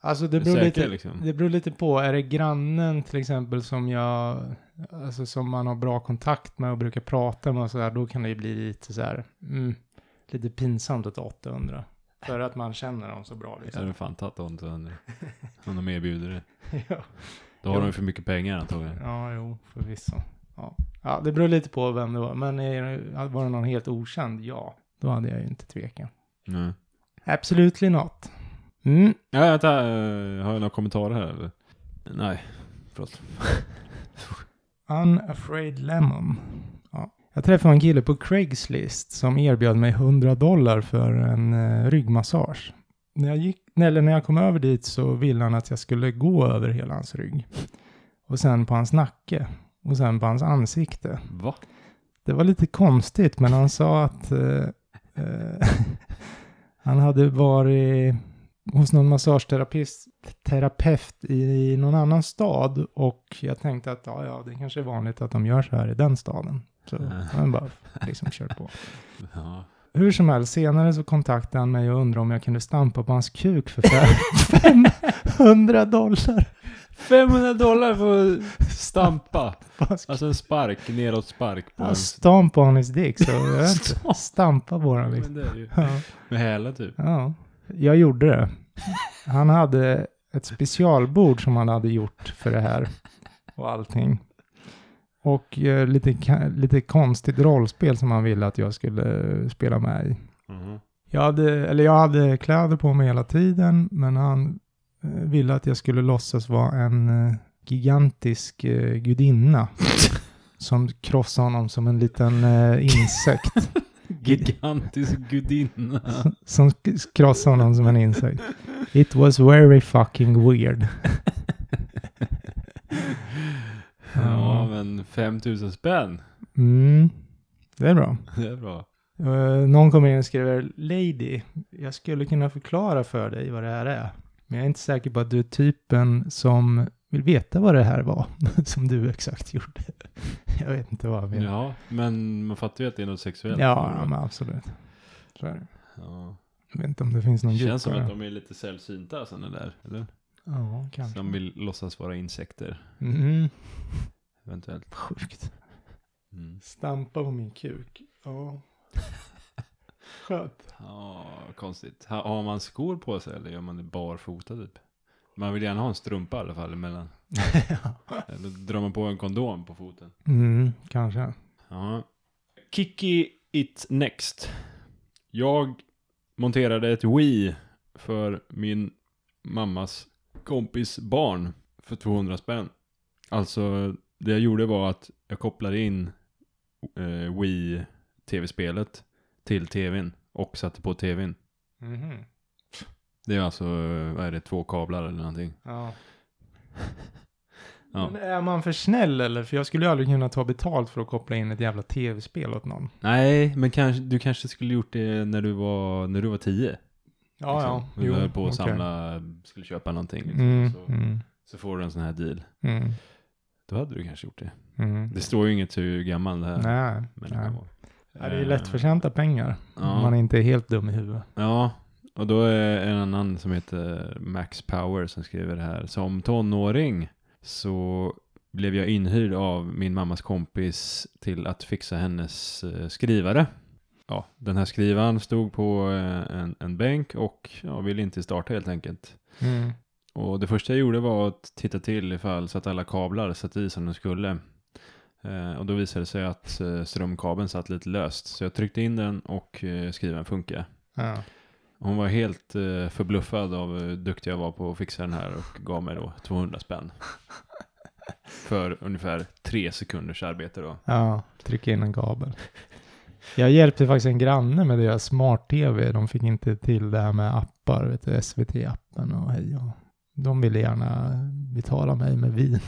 A: Alltså det
B: det
A: beror
B: säkert
A: lite...
B: liksom.
A: Det beror lite på. Är det grannen till exempel som jag, alltså som man har bra kontakt med och brukar prata med och sådär, då kan det ju bli lite så här, mm, lite pinsamt att 800. För att man känner dem så bra
B: Jag hade
A: liksom.
B: fan tagit 800. Om de erbjuder det.
A: ja.
B: Då har
A: Jo.
B: de för mycket pengar antagligen.
A: ja, jo, förvisso. Ja. ja, det beror lite på vem det var. Men är det, var det någon helt okänd, ja, då hade jag ju inte tvekat.
B: Nej.
A: Absolutely not. Mm.
B: Ja, vänta, eh, har jag några kommentarer här eller? Nej, förlåt.
A: Unafraid Lemon. Ja. Jag träffade en kille på Craigslist som erbjöd mig 100 dollar för en eh, ryggmassage. När jag, gick, eller när jag kom över dit så ville han att jag skulle gå över hela hans rygg. Och sen på hans nacke. Och sen på hans ansikte.
B: Va?
A: Det var lite konstigt, men han sa att eh, eh, han hade varit hos någon massageterapeut terapeut i någon annan stad och jag tänkte att ja, ja, det kanske är vanligt att de gör så här i den staden. Så
B: Ja.
A: han bara liksom kör på.
B: Ja.
A: Hur som helst, senare så kontaktade han mig och undrade om jag kunde stampa på hans kuk för fem- 500 dollar.
B: 500 dollar för att stampa.
A: På hans kuk.
B: Alltså en spark, nedåt spark på
A: Ja,
B: en...
A: stamp on his dick, så jag vet inte. Stampa på den liksom.
B: Men det är ju
A: Ja.
B: med hälen typ.
A: Ja, jag gjorde det. Han hade ett specialbord som han hade gjort för det här och allting. Och eh, lite, ka- lite konstigt rollspel som han ville att jag skulle eh, spela med i.
B: Mhm.
A: Jag hade, eller jag hade kläder på mig hela tiden, men han eh, ville att jag skulle låtsas vara en eh, gigantisk eh, gudinna som krossade honom som en liten eh, insekt.
B: Gigantisk gudinna.
A: som sk- krossade honom som en insekt. It was very fucking weird.
B: Ja, men 5000 spänn.
A: Mm. Det är bra.
B: Det är bra.
A: Eh, någon kommer in och skriver Lady, jag skulle kunna förklara för dig vad det här är. Men jag är inte säker på att du är typen som vill veta vad det här var. som du exakt gjorde. jag vet inte vad han menar.
B: Ja, men man fattar ju att det är något sexuellt.
A: Ja, ja men absolut. Så är det.
B: Ja.
A: Jag vet inte om det finns någon
B: Det känns som
A: djupare.
B: att de är lite sällsynta alltså, sådana där, eller?
A: Ja, kanske.
B: Som vill låtsas vara insekter,
A: Mm.
B: eventuellt.
A: Sjukt.
B: Mm.
A: Stampa på min kuk. Ja. Skönt.
B: Ja, konstigt. Ha- Har man skor på sig eller gör man det barfota typ? Man vill gärna ha en strumpa i alla fall emellan. Eller drar man på en kondom på foten.
A: Mm, kanske.
B: Ja. Kiki It Next. Jag monterade ett Wii för min mammas kompis barn för 200 spänn. Alltså, det jag gjorde var att jag kopplade in eh, Wii-tv-spelet till tvn och satte på tvn.
A: Mhm.
B: Det är alltså, eh, vad är det, två kablar eller någonting.
A: Ja.
B: Ja.
A: Men är man för snäll eller? För jag skulle ju aldrig kunna ta betalt för att koppla in ett jävla tv-spel åt någon.
B: Nej, men kanske, du kanske skulle gjort det när du var, när du var tio.
A: Ja,
B: liksom.
A: Ah, ja.
B: Du höll på att
A: okej.
B: samla, skulle köpa någonting liksom.
A: Mm,
B: Så,
A: mm,
B: så får du en sån här deal.
A: mm,
B: Då hade du kanske gjort det.
A: mm.
B: Det står ju inget hur gammal det här
A: Nej, nej.
B: människan var.
A: Ja, det är ju
B: Eh,
A: lättförtjänta pengar.
B: ja.
A: Om man inte är helt dum i huvudet.
B: Eh, Ja, och då är en annan som heter Max Power som skriver det här. Som tonåring så blev jag inhyrd av min mammas kompis till att fixa hennes eh, skrivare. Ja, den här skrivaren stod på eh, en, en bänk och ja, ville inte starta helt enkelt.
A: Mm.
B: Och det första jag gjorde var att titta till ifall så att alla kablar satt i som de skulle. Eh, och då visade det sig att eh, strömkabeln satt lite löst. Så jag tryckte in den och eh, skrivaren funkade.
A: Ja.
B: Hon var helt eh, förbluffad av hur duktig jag var på att fixa den här och gav mig då 200 spänn. För ungefär tre sekunders arbete då.
A: Ja, trycka in en kabel. Jag hjälpte faktiskt en granne med deras smart-tv. De fick inte till det här med appar, vet du, SVT-appen och hej och... De ville gärna betala mig med vin.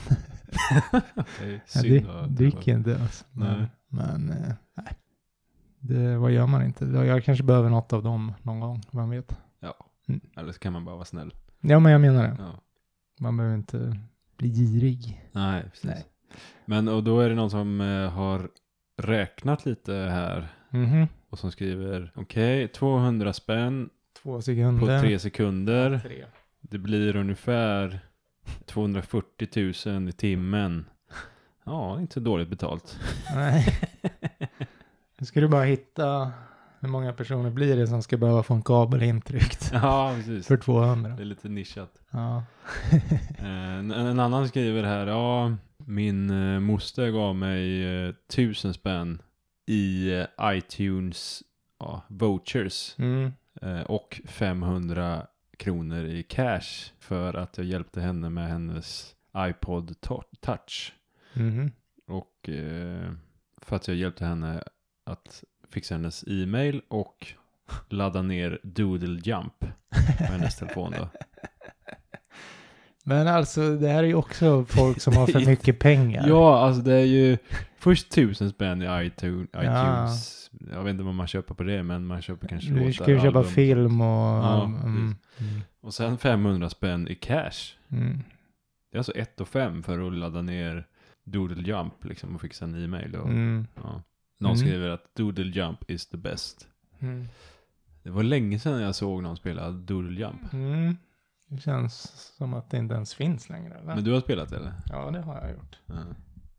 B: Det är
A: Jag
B: synd
A: drick,
B: att-
A: dricker inte alltså. Men,
B: Nej.
A: men eh, nej. Det, vad gör man inte? Jag kanske behöver något av dem någon gång, vem vet?
B: Eller så kan man bara vara snäll.
A: Ja, men jag menar det.
B: Ja.
A: Man behöver inte bli girig.
B: Nej, precis.
A: Nej.
B: Men och då är det någon som eh, har räknat lite här
A: Mhm.
B: och som skriver okej, 200 spänn
A: Två
B: på
A: sekunder.
B: tre sekunder.
A: Tre.
B: Det blir ungefär 240 000 i timmen. Ja, inte så dåligt betalt.
A: Nej. Nu ska du bara hitta hur många personer blir det som ska behöva få en kabel intryckt
B: Ja, precis.
A: för 200.
B: Det är lite nischat.
A: Ja.
B: Eh, En, en annan skriver här, ja, min eh, moster gav mig eh, 1000 spänn i eh, iTunes ja, vouchers
A: Mm.
B: eh, och 500 kronor i cash för att jag hjälpte henne med hennes iPod to- touch.
A: Mhm.
B: Och eh, för att jag hjälpte henne att fixa hennes e-mail och ladda ner Doodle Jump på hennes telefon då.
A: Men alltså, det här är ju också folk som har
B: Det
A: för
B: är-
A: mycket pengar.
B: Ja, alltså det är ju först tusen spänn i iTunes.
A: Ja.
B: iTunes. Jag vet inte vad man köper på det, men man köper kanske
A: du
B: låtar.
A: ska ju köpa
B: album.
A: film och...
B: Ja,
A: mm, mm,
B: Och sen 500 spänn i cash.
A: mm.
B: Det är alltså 1 5 för att ladda ner Doodle Jump liksom och fixa en e-mail. Och,
A: Mm.
B: ja. Någon
A: Mm.
B: skriver att Doodle Jump is the best.
A: Mm.
B: Det var länge sedan jag såg någon spela Doodle Jump.
A: Mm. Det känns som att det inte ens finns längre. Eller?
B: Men du har spelat det, eller?
A: Ja, det har jag gjort.
B: Ja.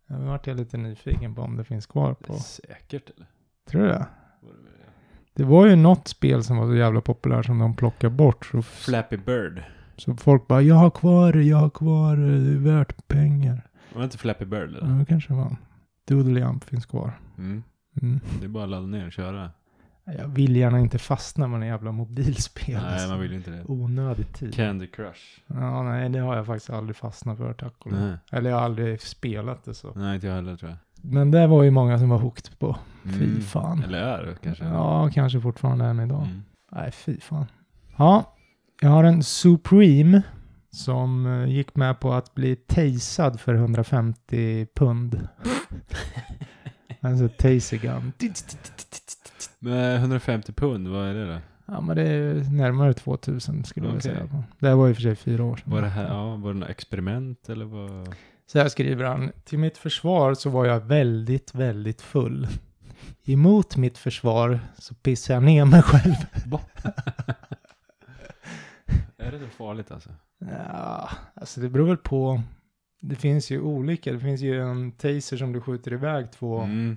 A: Nu vart jag lite nyfiken på om det finns kvar
B: Det är
A: på...
B: säkert, eller?
A: Tror du det? Det var ju något spel som var så jävla populärt som de plockade bort. Så,
B: Flappy Bird.
A: så folk bara, jag har kvar det, jag har kvar det, det är värt pengar.
B: Var det inte Flappy Bird? Eller?
A: Ja, det kanske det var. Doodle Jump finns kvar.
B: Mm.
A: Mm.
B: Det är bara att ladda ner och köra.
A: Jag vill gärna inte fastna med en jävla mobilspel.
B: Nej,
A: alltså.
B: man vill ju inte det.
A: Onödig tid.
B: Candy Crush.
A: Ja, nej, det har jag faktiskt aldrig fastnat för, tack och lov.
B: Nej.
A: Eller jag har aldrig spelat det så.
B: Nej, inte jag heller tror jag.
A: Men det var ju många som var hooked på.
B: Mm.
A: Fy fan.
B: Eller är kanske.
A: Ja, kanske fortfarande än idag.
B: Mm.
A: Nej, fy fan. Ja, jag har en Supreme som eh, gick med på att bli tasad för 150 pund. alltså taser gun.
B: Men 150 pund, vad är det då?
A: Ja, men det är närmare 2000 skulle jag
B: Okej.
A: vilja säga. Det här var ju för sig fyra år sedan.
B: Var det, här, ja, var det något experiment eller vad?
A: Så här skriver han. Till mitt försvar så var jag väldigt, väldigt full. Emot mitt försvar så pissade jag ner mig själv.
B: Är det så farligt alltså?
A: Ja, alltså det beror väl på. Det finns ju olika. Det finns ju en taser som du skjuter iväg två.
B: Mm.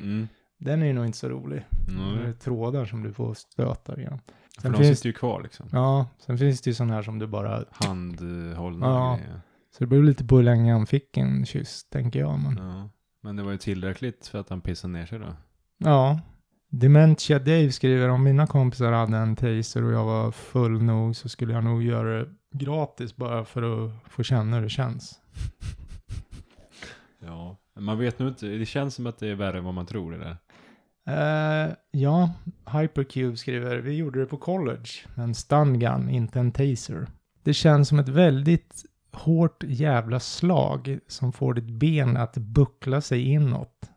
B: Mm.
A: Den är ju nog inte så rolig.
B: Mm.
A: Det är trådar som du får stöta igenom.
B: För
A: Sen
B: de
A: finns,
B: sitter ju kvar liksom.
A: ja, sen finns det ju sån här som du bara...
B: Handhållna
A: Ja.
B: grejer.
A: Så det beror lite på hur länge han fick en kyss, tänker jag. Men,
B: Ja. Men det var ju tillräckligt för att han pissade ner sig då.
A: ja. Dementia Dave skriver om mina kompisar hade en taser och jag var full nog så skulle jag nog göra det gratis bara för att få känna hur det känns.
B: Ja. Man vet nog inte, det känns som att det är värre än vad man tror det där.
A: Eh, ja, Hypercube skriver, vi gjorde det på college. En stun gun, inte en taser. Det känns som ett väldigt hårt jävla slag som får ditt ben att buckla sig inåt.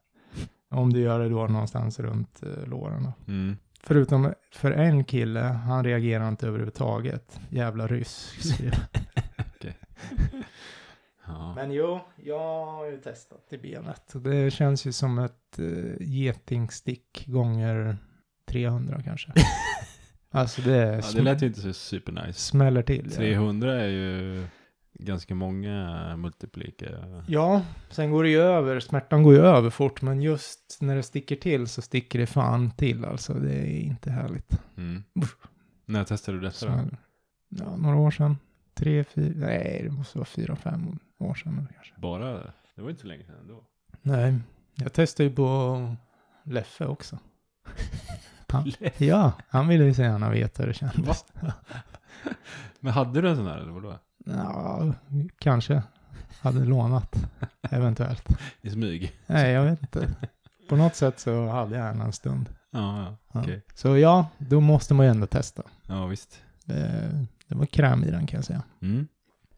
A: Om du gör det då någonstans runt eh, låren. då.
B: Mm.
A: Förutom för en kille, han reagerar inte överhuvudtaget. Jävla ryss. skriver.
B: Ja.
A: Men jo, jag har ju testat i benet. Och Det känns ju som ett eh, getingstick gånger 300 kanske. alltså det, är
B: ja, det lät ju inte så supernice.
A: smäller till. Ja.
B: 300 är ju ganska många multiplika.
A: ja, sen går det ju över. Smärtan går ju över fort. Men just när det sticker till så sticker det fan till. Alltså det är inte härligt.
B: Mm. När testade du detta då?
A: Smäller. Ja, några år sedan. Tre, fyra, nej det måste vara fyra, fem år sedan nu kanske.
B: Bara? Det var inte så länge sedan ändå.
A: Nej, jag testade ju på Leffe också. Han, ja, han ville ju så gärna veta hur det kändes.
B: Men hade du en sån här eller vadå?
A: Ja, kanske. Hade lånat, eventuellt.
B: I smyg?
A: Nej, jag vet inte. På något sätt så hade jag en en stund.
B: Ja, ja.
A: Ja.
B: Okej.
A: Så ja, då måste man ju ändå testa.
B: Ja, visst.
A: Det, det var kräm i den kan jag säga.
B: Mm.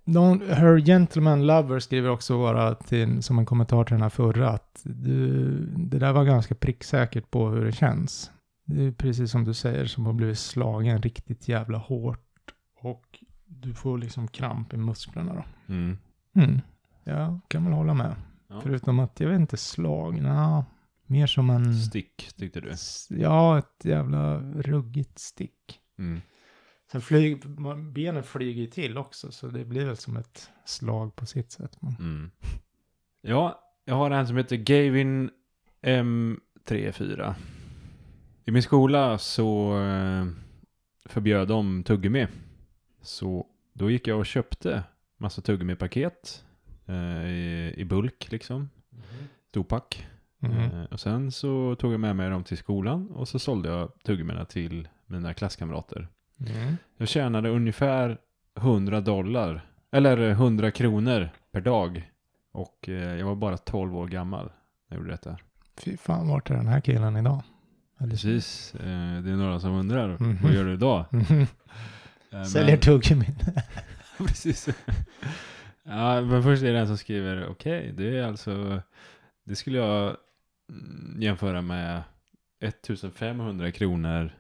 A: Någon, Her Gentleman Lover skriver också bara till, som en kommentar till den här förra att du, det där var ganska pricksäkert på hur det känns. Det är precis som du säger som har blivit slagen riktigt jävla hårt och du får liksom kramp i musklerna då.
B: Mm.
A: Mm. Jag kan väl hålla med.
B: Ja.
A: Förutom att jag vet inte slag, nja, mer som en...
B: Stick tyckte du?
A: s- Ja, ett jävla ruggigt stick.
B: Mm.
A: Sen flyg, benen flyger ju till också så det blir väl som ett slag på sitt sätt. Men...
B: Mm. Ja, jag har en som heter Gavin M34. I min skola så eh, förbjöd de tuggummi. Så då gick jag och köpte massa tuggummipaket eh, i, i bulk liksom.
A: Mm.
B: Dopack.
A: Mhm.
B: Eh, och sen så tog jag med mig dem till skolan och så sålde jag tuggummina till mina klasskamrater.
A: Mm.
B: Jag tjänade ungefär 100 dollar, eller 100 kronor per dag. Och eh, jag var bara 12 år gammal när jag gjorde detta.
A: Fy fan, vart är den här killen idag? Eller-
B: Precis, eh, det är några som undrar
A: Mhm.
B: vad gör du idag?
A: Mhm.
B: Eh,
A: Säljer tuggummin.
B: Precis. ja, men först är det en som skriver, okej, det är alltså, det skulle jag mm, jämföra med 1500 kronor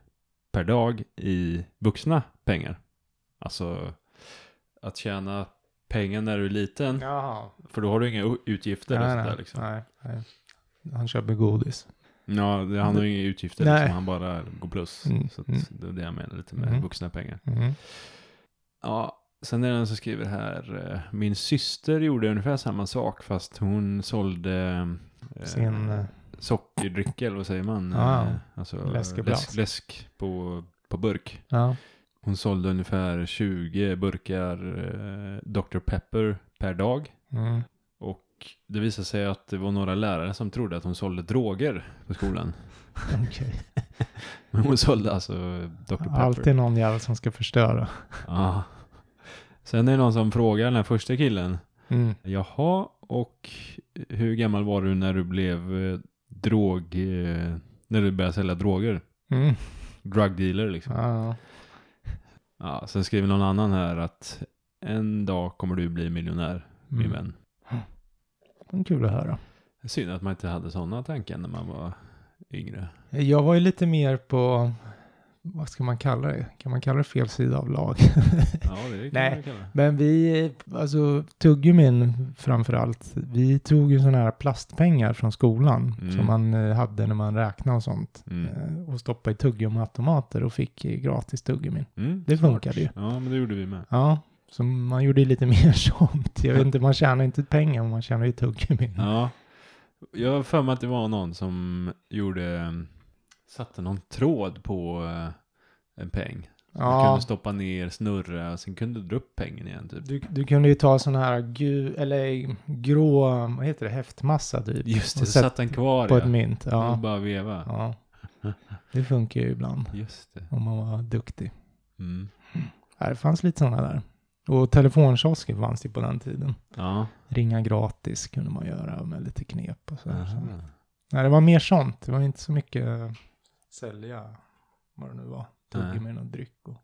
B: per dag i vuxna pengar. Alltså att tjäna pengar när du är liten,
A: Jaha.
B: för då har du inga u- utgifter och
A: Nej,
B: sånt där
A: nej,
B: liksom.
A: nej, nej. Han köper godis.
B: Ja, det- han har ju inga utgifter
A: Nej.
B: liksom, han bara går plus.
A: Mm,
B: Så att
A: mm.
B: det är det jag menar lite med
A: Mhm.
B: vuxna pengar.
A: Mhm.
B: Eh. Ja, sen är det en som skriver här. eh, Min syster gjorde ungefär samma sak fast hon sålde eh,
A: Sin, eh, Ah,
B: sockerdryck eller vad säger man?
A: Ja,
B: Eh, alltså
A: läskeblask.
B: läsk, läsk på, på burk.
A: ja.
B: Hon sålde ungefär 20 burkar eh, Dr. Pepper per dag.
A: Mm.
B: Och det visade sig att det var några lärare som trodde att hon sålde droger på skolan.
A: Okej.
B: Men hon sålde alltså Dr. Pepper.
A: Alltid någon jävel som ska förstöra.
B: Ja. Sen är det någon som frågar den här första killen.
A: Mm.
B: Jaha, och hur gammal var du när du blev eh, drog... eh, När du började sälja droger?
A: Mm.
B: Drug dealer liksom.
A: Ja.
B: Ja, sen skriver någon annan här att en dag kommer du bli miljonär, min
A: Mm.
B: vän.
A: Kul att höra.
B: Synd att man inte hade sådana tankar när man var yngre.
A: Jag var ju lite mer på, vad ska man kalla det? Kan man kalla det fel sida av lag?
B: Ja, det kan
A: Nej.
B: man kalla.
A: Men vi, alltså tuggummin framför allt, vi tog ju sådana här plastpengar från skolan
B: Mm.
A: som man eh, hade när man räknade och sånt.
B: Mm.
A: Eh, Och stoppade i tuggummiautomater och fick eh, gratis tuggummin.
B: Mm,
A: Det
B: smart.
A: funkade ju.
B: Ja, men det gjorde vi med.
A: Ja, så man gjorde ju lite mer sånt. Jag vet inte, man tjänar inte pengar, men man tjänar ju tuggummin.
B: Ja. Jag har för mig att det var någon som gjorde... eh, Satte någon tråd på eh, en peng. Du
A: Ja,
B: kunde stoppa ner, snurra, sen kunde du dra upp pengen igen typ.
A: du, du kunde ju ta sån här gu, eller grå, vad heter det, häftmassa typ.
B: Just det,
A: och
B: så
A: sätt
B: satt den kvar
A: på
B: ja.
A: ett mynt.
B: Och
A: Ja.
B: bara veva.
A: ja. Det funkar ju ibland
B: Just det.
A: om man var duktig.
B: Mm.
A: Ja, Det fanns lite sådana där. Och telefonkiosker fanns det ju på den tiden.
B: Ja.
A: Ringa gratis kunde man göra med lite knep och så. här. Så-
B: Aha.
A: Nej, det var mer sånt. Det var inte så mycket eh, sälja, vad det nu var.
B: Nej.
A: Tuggummin och dryck och...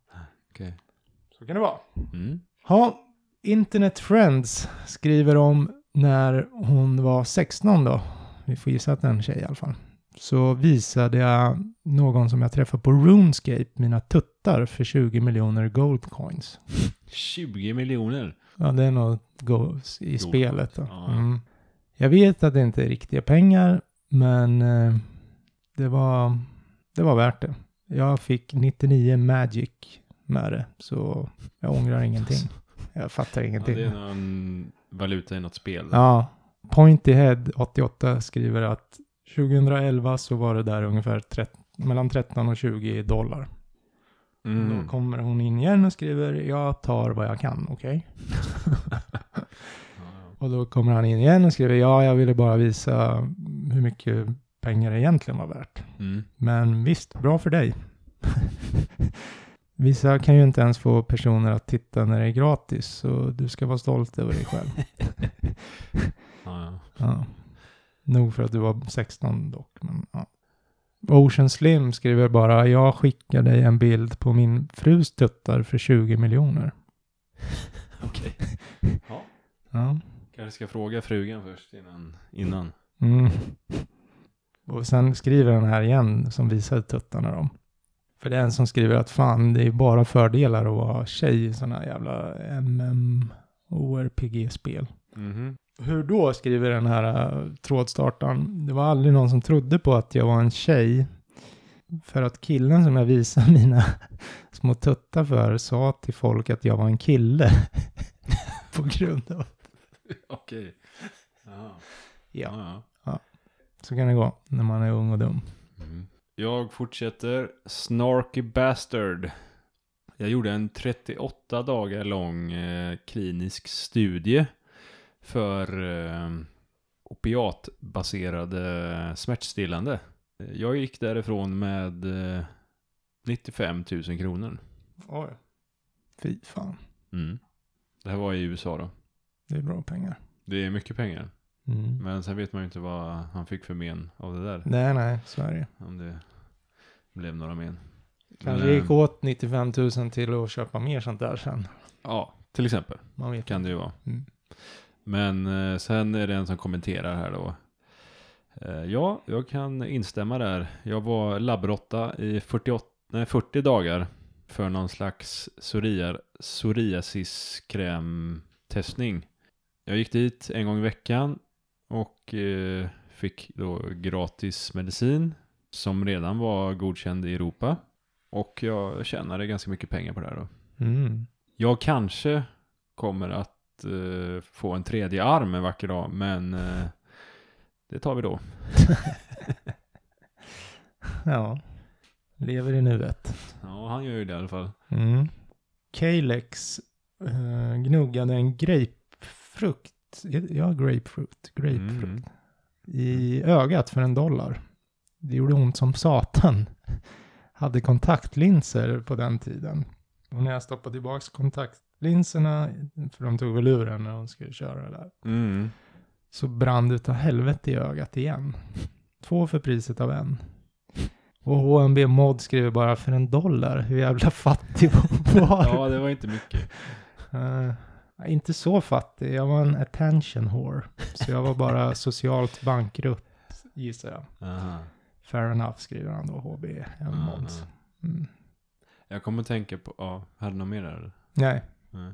B: Okej.
A: Så kan det vara.
B: Mm.
A: Ja, Internet Friends skriver om när hon var 16 då. Vi får gissa att det är en tjej i alla fall. Så visade jag någon som jag träffade på RuneScape mina tuttar för 20 miljoner gold coins.
B: 20 miljoner.
A: Ja, det är nog go- i
B: Gold
A: spelet då.
B: coins, ja.
A: Mm. Jag vet att det inte är riktiga pengar, men eh, det var, det var värt det. Jag fick 99 magic med det, så jag ångrar ingenting. Jag fattar
B: Alltså. Ja,
A: ingenting.
B: det är någon valuta i något spel.
A: Ja. Pointy Head 88 skriver att 2011 så var det där ungefär 13, mellan 13 och 20 dollar. Då
B: Mm.
A: kommer hon in igen och skriver jag tar vad jag kan, okej?
B: Ja.
A: Och då kommer han in igen och skriver ja, jag ville bara visa hur mycket pengar det egentligen var värt.
B: Mm.
A: Men visst, bra för dig. Vissa kan ju inte ens få personer att titta när det är gratis, så du ska vara stolt över dig själv.
B: Ja, ja.
A: Ja. Nog för att du var 16 dock. Men, ja. Ocean Slim skriver bara, jag skickar dig en bild på min frus tuttar för 20 miljoner.
B: Okej. Ja.
A: Ja.
B: Kanske ska fråga frugan först innan. innan.
A: Mm. Och sen skriver den här igen som visade tuttarna då. För det är en som skriver att fan, det är bara fördelar att vara tjej i sådana jävla MMORPG-spel. Mm-hmm.
B: Mhm.
A: Hur då, skriver den här eh, trådstartaren. Det var aldrig någon som trodde på att jag var en tjej. För att killen som jag visade mina små tuttar för sa till folk att jag var en kille. på grund av...
B: Okej. Ja.
A: Ja.
B: ja.
A: Så kan det gå när man är ung och dum.
B: Mm. Jag fortsätter. Snarky Bastard. Jag gjorde en 38 dagar lång eh, klinisk studie för eh, opiatbaserade eh, smärtstillande. Jag gick därifrån med eh, 95 000 kronor.
A: Oj. Fy fan.
B: Mm. Det här var i USA då.
A: Det är bra pengar.
B: Det är mycket pengar.
A: Mm.
B: Men sen vet man ju inte vad han fick för men av det där.
A: Nej, nej, så är det ju.
B: Om det blev några men.
A: Kanske
B: Men, eh,
A: gick åt 95 000 till att köpa mer sånt där sen.
B: Ja, till exempel.
A: Man vet
B: Kan det ju vara.
A: Mm.
B: Men eh, sen är det en som kommenterar här då. Eh, ja, jag kan instämma där. Jag var labbrotta i 48, nej, 40 dagar för någon slags psoriar- psoriasiskrämtestning. Jag gick dit en gång i veckan och eh, fick då gratis medicin som redan var godkänd i Europa. Och jag tjänade ganska mycket pengar på det här då.
A: Mm.
B: Jag kanske kommer att eh, få en tredje arm en vacker dag, men eh, det tar vi då.
A: Ja, lever i nuet.
B: Ja, han gör ju det i alla fall.
A: Mm. Kalex eh, gnuggade en grapefrukt, ja grapefruit, grapefrukt,
B: Mm.
A: i ögat för en dollar. Det gjorde ont som satan. Hade kontaktlinser på den tiden. Och när jag stoppade tillbaka kontaktlinserna, för de tog väl ur den när de skulle köra det där,
B: Mm.
A: så brann det utav helvete i ögat igen. Två för priset av en. Och HMB Mod skriver bara för en dollar, hur jävla fattig var
B: Ja, det var inte mycket.
A: Eh, Inte så fattig, jag var en attention whore. Så jag var bara socialt bankrutt, gissar jag.
B: Aha.
A: Fair enough skriver han då, HB
B: Mm,
A: Mods. Mm.
B: Jag kommer att tänka på, ja, hade du något mer där? eller?
A: Nej,
B: Nej.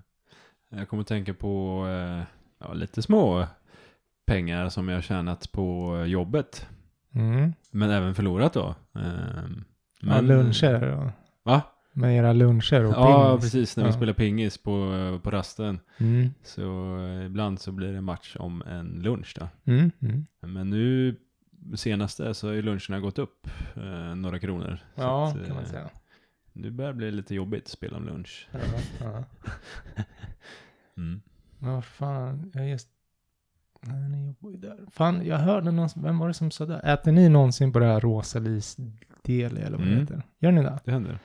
B: Jag kommer att tänka på eh, ja, lite små pengar som jag tjänat på jobbet,
A: mm.
B: men även förlorat då. Ehm,
A: ja, luncher. Och,
B: Va?
A: med era luncher och
B: Ja,
A: pingis.
B: precis. När vi
A: Ja.
B: spelar pingis på, på rasten.
A: Mm.
B: Så eh, ibland så blir det match om en lunch då.
A: Mm. Mm.
B: Men nu senaste så har ju luncherna gått upp eh, några kronor. Så
A: Ja,
B: att, eh,
A: kan man säga.
B: Nu börjar det bli lite jobbigt att spela om lunch.
A: Ja, ja.
B: Mm.
A: Men vad fan, jag just... Nej, ni jobbar ju där. Fan, jag hörde någon, vem var det som sa det? Äter ni någonsin på det här Rosalis Deli eller vad det
B: Mm.
A: heter? Gör ni det?
B: Det händer.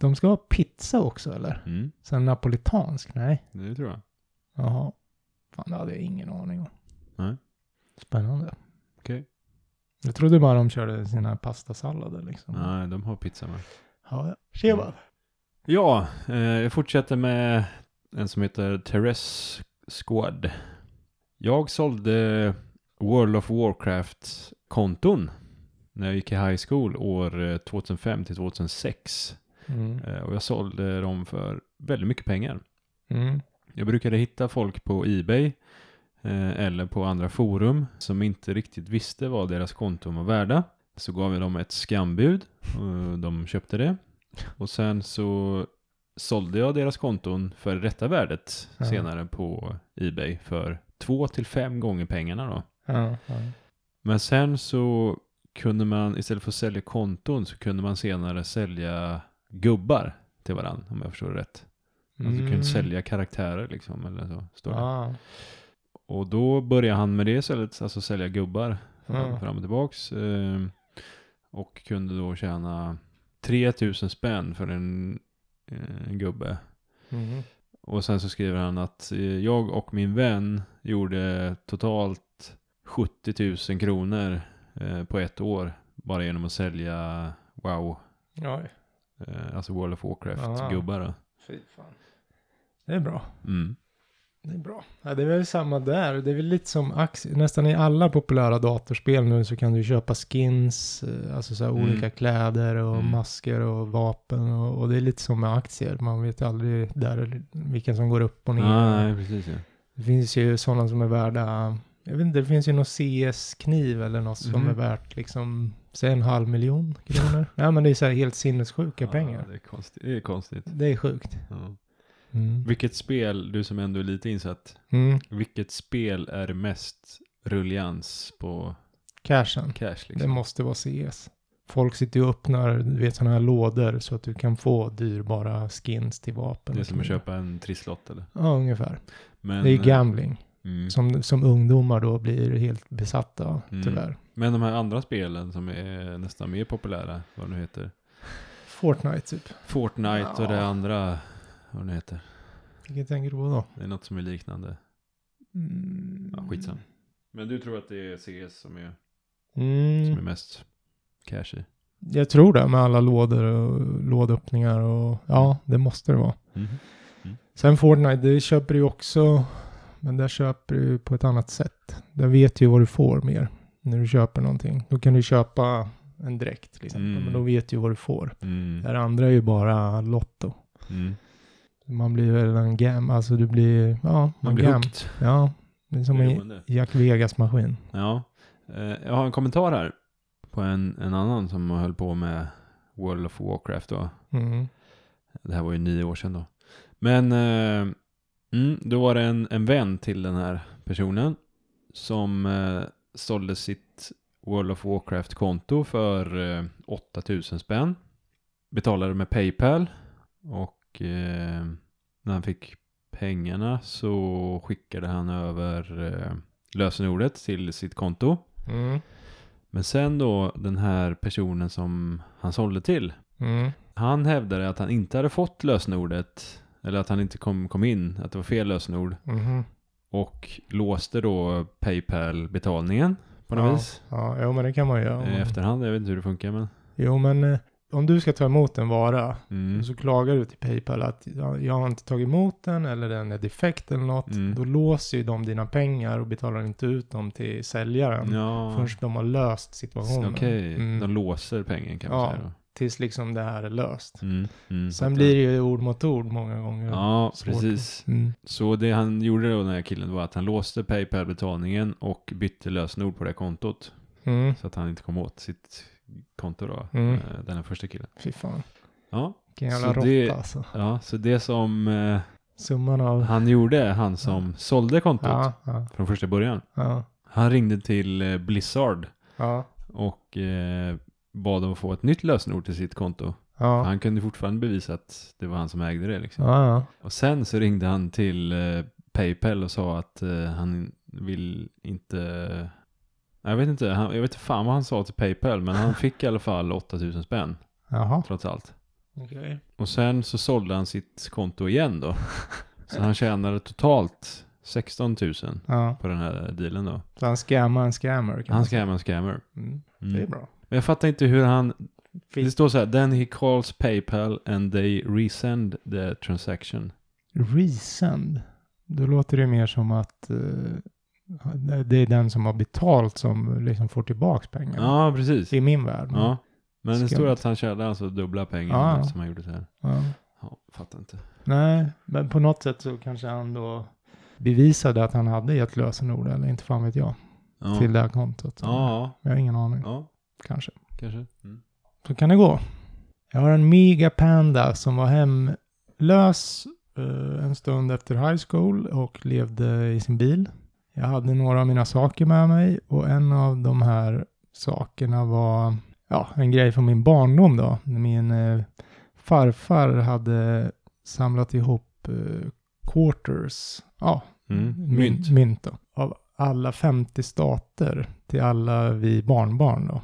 A: De ska ha pizza också eller?
B: Mm.
A: Sen napolitansk? Nej.
B: Det tror jag.
A: Jaha. Fan, det hade jag ingen aning om.
B: Nej.
A: Spännande.
B: Okej.
A: Jag trodde bara de körde sina pastasallader liksom.
B: Nej, de har pizza med.
A: Ja, ja. Tjena.
B: Ja, eh, jag fortsätter med en som heter Therese Squad. Jag sålde World of Warcraft-konton när jag gick i high school år eh, 2005 till 2006.
A: Mm.
B: Eh, Och jag sålde dem för väldigt mycket pengar.
A: Mm.
B: Jag brukade hitta folk på Ebay eh, eller på andra forum som inte riktigt visste vad deras konton var värda. Så gav jag dem ett skambud och de köpte det. Och sen så sålde jag deras konton för rätta värdet
A: Ja.
B: senare på Ebay för två till fem gånger pengarna då.
A: Ja, ja.
B: Alltså, Men sen så kunde man istället för att sälja konton så kunde man senare sälja gubbar till varandra om jag förstår det rätt. Alltså du
A: Mm.
B: kunde sälja karaktärer liksom eller så. Står det.
A: Ja.
B: Och då började han med det istället, alltså sälja gubbar fram,
A: Ja.
B: fram och tillbaks. Eh, och kunde då tjäna 3000 spänn för en, eh, en gubbe.
A: Mm.
B: Och sen så skriver han att eh, jag och min vän gjorde totalt 70 000 kronor eh, på ett år bara genom att sälja wow,
A: Oj.
B: eh, alltså World of
A: Ah.
B: Warcraft-gubbar. då.
A: Fy fan. Det är bra.
B: Mm.
A: Det är bra. Ja, det är väl samma där. Det är väl lite som aktier. Nästan i alla populära datorspel nu så kan du köpa skins, eh, alltså så här
B: Mm.
A: olika kläder och
B: Mm.
A: masker och vapen. Och, och det är lite som med aktier. Man vet aldrig där vilken som går upp och ner.
B: Ah, Nej, precis ja.
A: Det finns ju sådana som är värda, jag vet inte, det finns ju någon CS-kniv eller något som
B: Mhm.
A: är värt liksom, säg en halv miljon kronor. Nej men det är så här helt sinnessjuka
B: Ja,
A: pengar.
B: Ah, det är konstigt. Det är konstigt.
A: Det är sjukt.
B: Ja.
A: Mm.
B: Vilket spel, du som ändå är lite insatt,
A: Mm.
B: vilket spel är mest rullians på
A: Cashen.
B: cash
A: Det
B: liksom?
A: måste vara CS. Folk sitter ju och öppnar, du vet sådana här lådor så att du kan få dyrbara skins till vapen.
B: Det är som att köpa en trisslott eller?
A: Ja, ungefär.
B: Men, eh,
A: det är ju gambling.
B: mm.
A: Som, som ungdomar då blir helt besatta av,
B: Mm.
A: tyvärr.
B: Men de här andra spelen som är nästan mer populära, vad de nu heter.
A: Fortnite typ.
B: Fortnite och det
A: Ja.
B: andra, vad det nu heter.
A: Vilket tänker du på då?
B: Det är något som är liknande.
A: Mm.
B: Ja, skitsam. Men du tror att det är CS som är, som är
A: Mm,
B: mest cash i?
A: jag tror det med alla lådor och lådöppningar och ja, det måste det vara. Sen Fortnite, det köper du ju också, men där köper du på ett annat sätt. Där vet du ju vad du får mer när du köper någonting. Då kan du köpa en dräkt till exempel,
B: Mm.
A: men då vet du ju vad du får.
B: Mm.
A: Det här andra är ju bara lotto.
B: Mm.
A: Man blir väl en gam, alltså du blir, ja,
B: Man
A: en
B: blir
A: gam.
B: hooked.
A: Ja, det är som en
B: Beroende.
A: Jack Vegas-maskin.
B: Ja. Eh, Jag har en kommentar här på en, en annan som höll på med World of Warcraft då.
A: Mm.
B: Det här var ju nio år sedan då. Men eh, mm, då var det en, en vän till den här personen som eh, sålde sitt World of Warcraft-konto för eh, 8000 spänn. Betalade med Paypal och eh, när han fick pengarna så skickade han över eh, lösenordet till sitt konto.
A: Mm.
B: Men sen då den här personen som han sålde till
A: Mm.
B: han hävdade att han inte hade fått lösenordet, eller att han inte kom, kom in, att det var fel lösenord.
A: Mhm.
B: Och låste då Paypal-betalningen på något
A: Ja.
B: vis. Eh,
A: Ja, jo, men det kan man göra.
B: I efterhand, jag vet inte hur det funkar men.
A: Jo, men eh, om du ska ta emot en vara
B: Mm.
A: Och så klagar du till Paypal att ja, jag har inte tagit emot den eller den är defekt eller något.
B: Mm.
A: Då låser ju de dina pengar och betalar inte ut dem till säljaren.
B: Ja,
A: Förrän de har löst situationen.
B: okej.
A: Mm.
B: De låser pengen kan
A: Ja.
B: man säga
A: Tills liksom det här är löst.
B: då. Mm. Mm.
A: Sen
B: Fattar.
A: blir det ju ord mot ord många gånger.
B: Ja,
A: svårt.
B: precis.
A: Mm.
B: Så det han gjorde då den här killen var att han låste Paypal-betalningen och bytte lösenord på det här kontot.
A: Mm.
B: Så att han inte kom åt sitt konto då,
A: Mm.
B: eh, den här första killen.
A: Fy fan.
B: Ja,
A: Vilken jävla
B: Så
A: råtta
B: det-
A: alltså.
B: ja så det som... Eh,
A: Summan av...
B: han gjorde, han som sålde kontot
A: Ja, ja,
B: från första början.
A: ja,
B: Han ringde till eh, Blizzard
A: ja,
B: och eh, bad dem att få ett nytt lösenord till sitt konto. För
A: ja,
B: Han kunde fortfarande bevisa att det var han som ägde det. Liksom.
A: ja,
B: Och sen så ringde han till eh, Paypal och sa att eh, han vill inte... Jag vet inte, han, jag vet inte fan vad han sa till Paypal, men han fick i alla fall 8000 spänn
A: jaha.
B: trots allt.
A: Okej.
B: Och sen så sålde han sitt konto igen då. Så han tjänade totalt 16 000.
A: Ja,
B: på den här dealen då.
A: så han scammar en scammer. Kan
B: Han
A: man
B: ska
A: säga.
B: hem en scammer.
A: Mm. Det är
B: Mm.
A: bra.
B: Men jag fattar inte hur han... Det
A: Fin-
B: står så här, then he calls Paypal and they resend the transaction.
A: Resend. Då låter det mer som att eh, det är den som har betalt som liksom får tillbaka pengarna.
B: Ja, precis.
A: I min värld.
B: Ja. Men det
A: Mm. Skumt.
B: står att han tjänade alltså dubbla pengar
A: Ja.
B: eftersom han gjorde så här.
A: Ja.
B: Ja, fattar inte.
A: Nej, men på något sätt så kanske han då bevisade att han hade gett lösenord eller inte fan vet jag.
B: Ja.
A: Till det här kontot.
B: Ja,
A: Jag har ingen aning.
B: ja,
A: Kanske.
B: kanske. Mm.
A: Så kan det gå. Jag har en mega panda som var hemlös eh, en stund efter high school och levde i sin bil. Jag hade några av mina saker med mig och en av de här sakerna var ja, en grej från min barndom då. När Min eh, farfar hade samlat ihop eh, quarters, ja,
B: Mm.
A: my-
B: Mynt.
A: mynt då, av alla 50 stater till alla vi barnbarn då.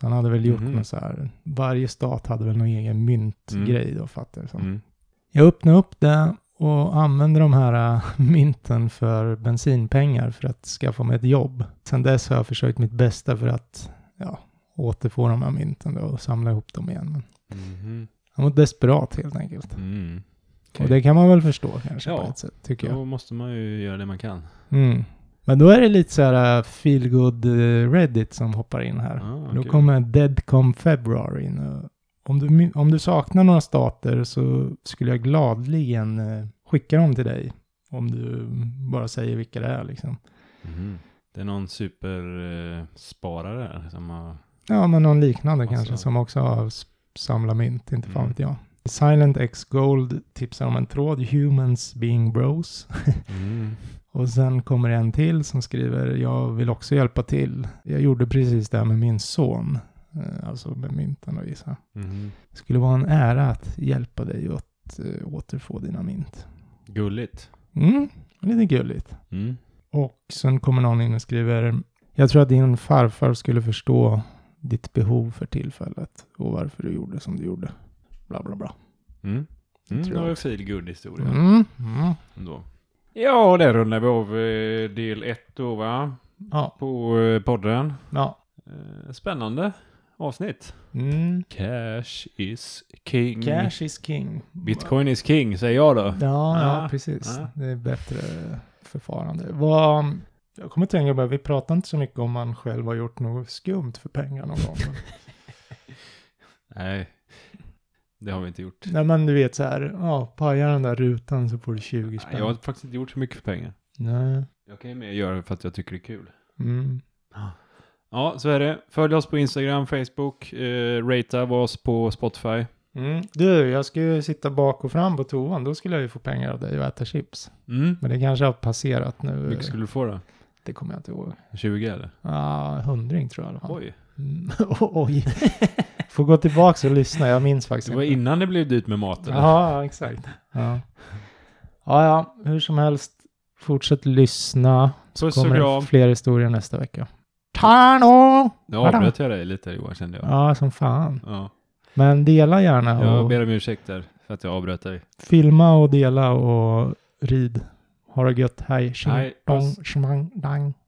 A: Så han hade väl gjort
B: Mhm.
A: någon så här, varje stat hade väl någon egen myntgrej då fattar jag det som.
B: Mm.
A: Jag öppnade upp det och använde de här äh, mynten för bensinpengar för att skaffa mig ett jobb. Sen dess har jag försökt mitt bästa för att ja, återfå de här mynten då och samla ihop dem igen. Men
B: Mhm.
A: jag var desperat helt enkelt.
B: Mm.
A: Och det kan man väl förstå kanske
B: Ja.
A: på ett sätt, tycker jag.
B: Då måste man ju göra det man kan.
A: Mm. Men då är det lite så här äh, feel good eh, Reddit som hoppar in här.
B: Ah,
A: Då
B: kul.
A: kommer Deadcom February in. och Om du, my- om du saknar några stater så skulle jag gladligen eh, skicka dem till dig. Om du bara säger vilka det är liksom.
B: Mhm. Det är någon supersparare här som har...
A: Ja, men någon liknande
B: Massa.
A: kanske som också har s- samlat mynt, inte fan
B: Alltså. Mm.
A: vet jag. Silent X Gold tipsar om en tråd, Humans Being Bros.
B: Mm.
A: Och sen kommer en till som skriver, jag vill också hjälpa till. Jag gjorde precis det här med min son. Eh, Alltså med mynten och gissa.
B: Mhm.
A: Det skulle vara en ära att hjälpa dig att eh, återfå dina mynt.
B: Gulligt.
A: Mm, lite gulligt.
B: Mm.
A: Och sen kommer någon in och skriver. Jag tror att din farfar skulle förstå ditt behov för tillfället och varför du gjorde som du gjorde. Bla bla bla.
B: Mm. Mm,
A: Tror
B: det var
A: jag
B: en feelgood historia
A: Mm. Mm.
B: ändå. Ja, där rundar vi av eh, del ett då va?
A: Ja,
B: på eh, podden.
A: ja.
B: Eh, Spännande avsnitt.
A: Mm.
B: Cash is king.
A: Cash is king.
B: Bitcoin is king, säger jag då.
A: Ja, ja
B: Ah,
A: precis.
B: ah.
A: Det är bättre förfarande. Vad, jag kommer att tänka på, vi pratar inte så mycket om man själv har gjort något skumt för pengar någon gång.
B: Nej, det har vi inte gjort.
A: Nej men du vet så här, ja, pajar den där rutan så får du 20 spänn.
B: Nej, jag har faktiskt inte gjort så mycket för pengar.
A: Nej.
B: Jag kan ju mer göra det för att jag tycker det är kul.
A: Mm.
B: Ja, så är det. Följ oss på Instagram, Facebook, eh, ratea oss på Spotify.
A: Mm. Du, jag ska ju sitta bak och fram på toan, då skulle jag ju få pengar av dig och äta chips.
B: Mm.
A: Men det kanske har passerat
B: Hur
A: nu,
B: mycket skulle du få då?
A: det kommer jag inte ihåg.
B: 20 eller?
A: Ja, hundring tror jag i alla fall.
B: Oj,
A: Mm. Oj. Får gå tillbaka och lyssna, jag minns faktiskt
B: det var
A: inte.
B: innan det blev dyrt med maten.
A: Ja, ja, exakt. Ja. ja, ja, hur som helst. Fortsätt lyssna. Så
B: Puss och
A: kommer det
B: kram.
A: fler historier nästa vecka. Tano!
B: Nu avbröt jag dig lite Johan kände jag.
A: Ja, som fan.
B: Ja.
A: Men dela gärna
B: Jag
A: och
B: ber om ursäkt där för att jag avbröt dig.
A: filma och dela och rid. Ha det gött. Hej. Tjing,
B: Hej,
A: dong,
B: puss.
A: tjimang, dang.